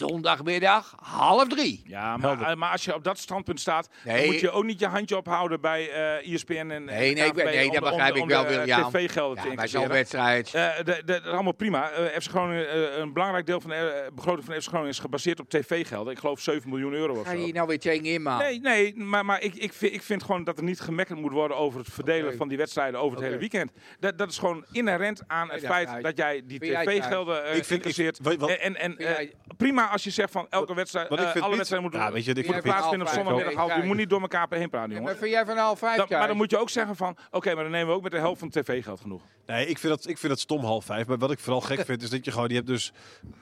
zondagmiddag half drie.
Ja, maar, eh, maar als je op dat standpunt staat,
Nee.
dan moet je ook niet je handje ophouden bij eh ISPN en en
Nee, nee, ik
KNVB
ben- nee,
om
dat
de- om
begrijp
de-
ik
om de,
wel,
eh,
William.
TV-gelden te
Ja, maar zo'n
incasseren.
wedstrijd.
Eh, de- de- dat is allemaal prima. Eh, FC Groningen, eh, een belangrijk deel van de eh, begroting van FC Groningen is gebaseerd op tv-gelden. Ik geloof 7 miljoen euro of
Ga je
zo.
hier nou weer tegenin, man?
Nee, nee maar, maar ik, ik, vind, ik vind gewoon dat er niet gemekkerd moet worden over het verdelen
Oké.
van die wedstrijden over het
Oké.
hele weekend. Dat, dat is gewoon inherent aan het
dat
feit
uit.
dat jij die
Vind jij het
tv-gelden eh
Ik vind- ik-
incasseert.
weet je wat-
En, en, en,
Vind
eh,
jij-
prima als je zegt van elke wedstrijd,
Wat ik
eh,
vind,
alle
Piet-
wedstrijden moeten
Ja, weet je, wat ik
Jij
vind Piet-
hebt
plaats vinden op
Half vijf,
zondagmiddag
oké,
half. Je
kijk.
moet niet door elkaar op heen praten,
Maar
jongens.
vind jij van half vijf,
Dat- maar
Thijs?
dan moet je ook zeggen van, oké, maar dan nemen we ook met de helft van het tv-geld genoeg.
Nee, ik vind, dat, ik vind dat stom half vijf. Maar wat ik vooral gek vind, is dat je gewoon... Je hebt dus,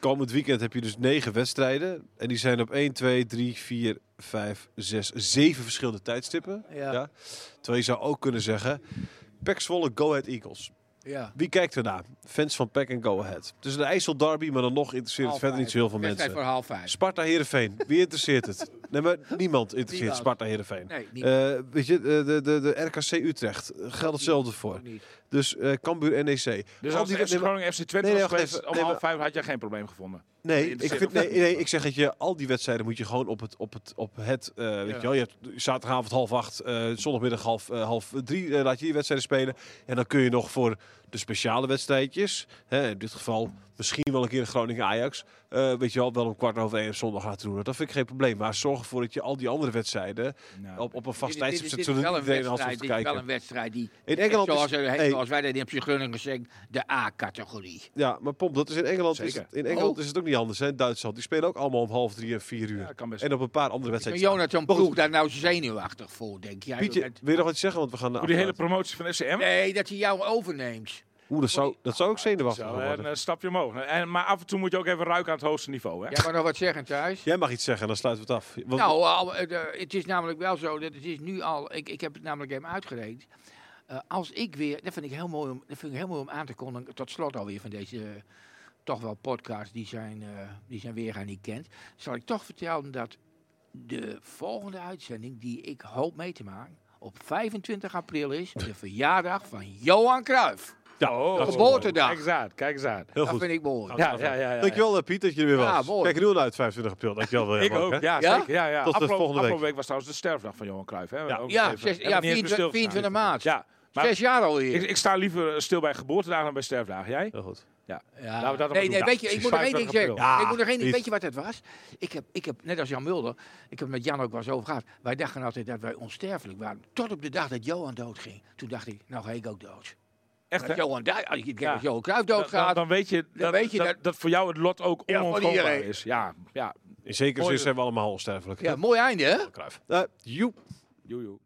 komend weekend heb je dus negen wedstrijden. En die zijn op 1, 2, 3, 4, 5, 6, 7 verschillende tijdstippen.
Ja.
Terwijl je zou ook kunnen zeggen... Pek Zwolle, Go Ahead Eagles.
Ja.
Wie kijkt ernaar? Fans van Pek en Go Ahead. Het is een IJssel derby, maar dan nog interesseert het
Half
verder
vijf.
niet zo heel veel
Wedstrijd
mensen.
voor half vijf.
Sparta Heerenveen, wie interesseert het? Nee, maar niemand interesseert
Niemand.
Sparta Heerenveen.
Nee, niet.
Eh, weet je, de, de, de, de RKC Utrecht eh, geldt hetzelfde voor.
Ook niet.
Dus eh Cambuur NEC.
Dus
Al
als
die
die FC
wedstrijden-
Groningen FC Twente
Nee, nee,
was
wacht
geweest
even.
om
Nee,
half vijf, had jij geen probleem gevonden.
nee, ik,
interesseert
vind,
het
nee, nee, ik zeg dat je al die wedstrijden moet je gewoon op het, op het, op het eh, weet je wel, je hebt zaterdagavond half acht, eh, zondagmiddag half, eh, half drie eh, laat je die wedstrijden spelen. En dan kun je nog voor de speciale wedstrijdjes, hè, in dit geval misschien wel een keer een Groningen-Ajax, eh, weet je wel, wel om kwart over één op zondag laten doen. Dat vind ik geen probleem, maar zorg ervoor dat je al die andere wedstrijden
Nou.
op, op een
Dit
vast
is- dit is-
tijdstip zet,
dit is
zodat
wel een
iedereen een
wedstrijd-
half te
Dit is wel
kijken.
een wedstrijd die...
In Engeland
zoals,
is-
eh,
hey.
zoals wij dat in Psych Groningen zeggen, de A-categorie.
Ja, maar Pomp, dat is in Engeland, is
Zeker.
het, in Engeland
Oh.
is het ook niet anders. Hè? In Duitsland, die spelen ook allemaal om half drie en vier uur.
Ja, kan best.
en op een paar andere
Maar
wedstrijden.
Jonathan
Maar goed.
Ploeg daar nou zenuwachtig voor, denk jij?
Pietje,
Dat-
wil je nog wat zeggen? Want we gaan naar
Voor die hele
afsluiten.
promotie van SCM.
nee, dat hij jou overneemt.
Oeh, dat zou, dat zou ook zenuwachtig
Zo,
gaan
een
worden.
eh, stapje omhoog. En, maar af en toe moet je ook even ruiken aan het hoogste niveau. Hè?
Jij mag nog wat zeggen, Thijs?
Jij mag iets zeggen en dan sluiten we het af. Want-
Nou, al- het, eh, het is namelijk wel zo dat het is nu al. Ik, ik heb het namelijk even uitgerekend. Eh, als ik weer, dat vind ik heel mooi om, dat vind ik heel mooi om aan te kondigen. Tot slot alweer van deze eh, toch wel podcasts die zijn, eh, die zijn weerga niet kent, zal ik toch vertellen dat de volgende uitzending die ik hoop mee te maken op 25 april is de verjaardag van Johan Cruijff.
Ja, dat is
Geboortedag.
Kijk eens aan, kijk eens aan.
Heel
Dat
goed.
vind ik mooi.
Ja, ja, ja, ja.
Dankjewel eh, Piet dat je er weer was.
Ja, mooi.
Kijk er nu al uit, 25 april. Dankjewel William.
Ik ook,
hè?
ja,
Ja?
zeker. Ja, ja.
Tot de
Afgelopen-
volgende week.
Afgelopen week was trouwens de sterfdag van Johan Cruijff. Hè?
Ja.
Ook
Ja,
even-
zes-
hebben we niet
ja,
eens bij
24
stilgestaan.
24 maart.
Ja, maar
Zes jaar
ik,
alweer.
ik sta liever eh, stil bij geboortedagen dan bij sterfdagen. Jij?
Heel goed.
Ja.
Laten we dat nog
Eh, nee,
doen.
nee,
Ja,
weet je, ik moet nog één ding
25
zeggen.
april.
ik moet nog één ding,
Piet.
weet je wat het was? Ik heb, ik heb, net als Jan Mulder, ik heb het met Jan ook wel eens over gehad. Wij dachten altijd dat wij onsterfelijk waren. Tot op de dag dat Johan doodging. Toen dacht ik, nou ga ik ook dood.
Echt, hè?
Dat Johan, da- als je kijkt
Ja.
als Johan Cruijff
Dan, dan,
doodgaat.
dan weet je, dat,
weet je
dat,
dat-
dat voor jou het lot ook
Ja, van
onontkoombaar
iedereen.
is. Ja, ja.
In zekere
Mooi.
zin zijn we allemaal onsterfelijk.
ja, mooi einde, hè?
Eh, joep.
Joe, joe.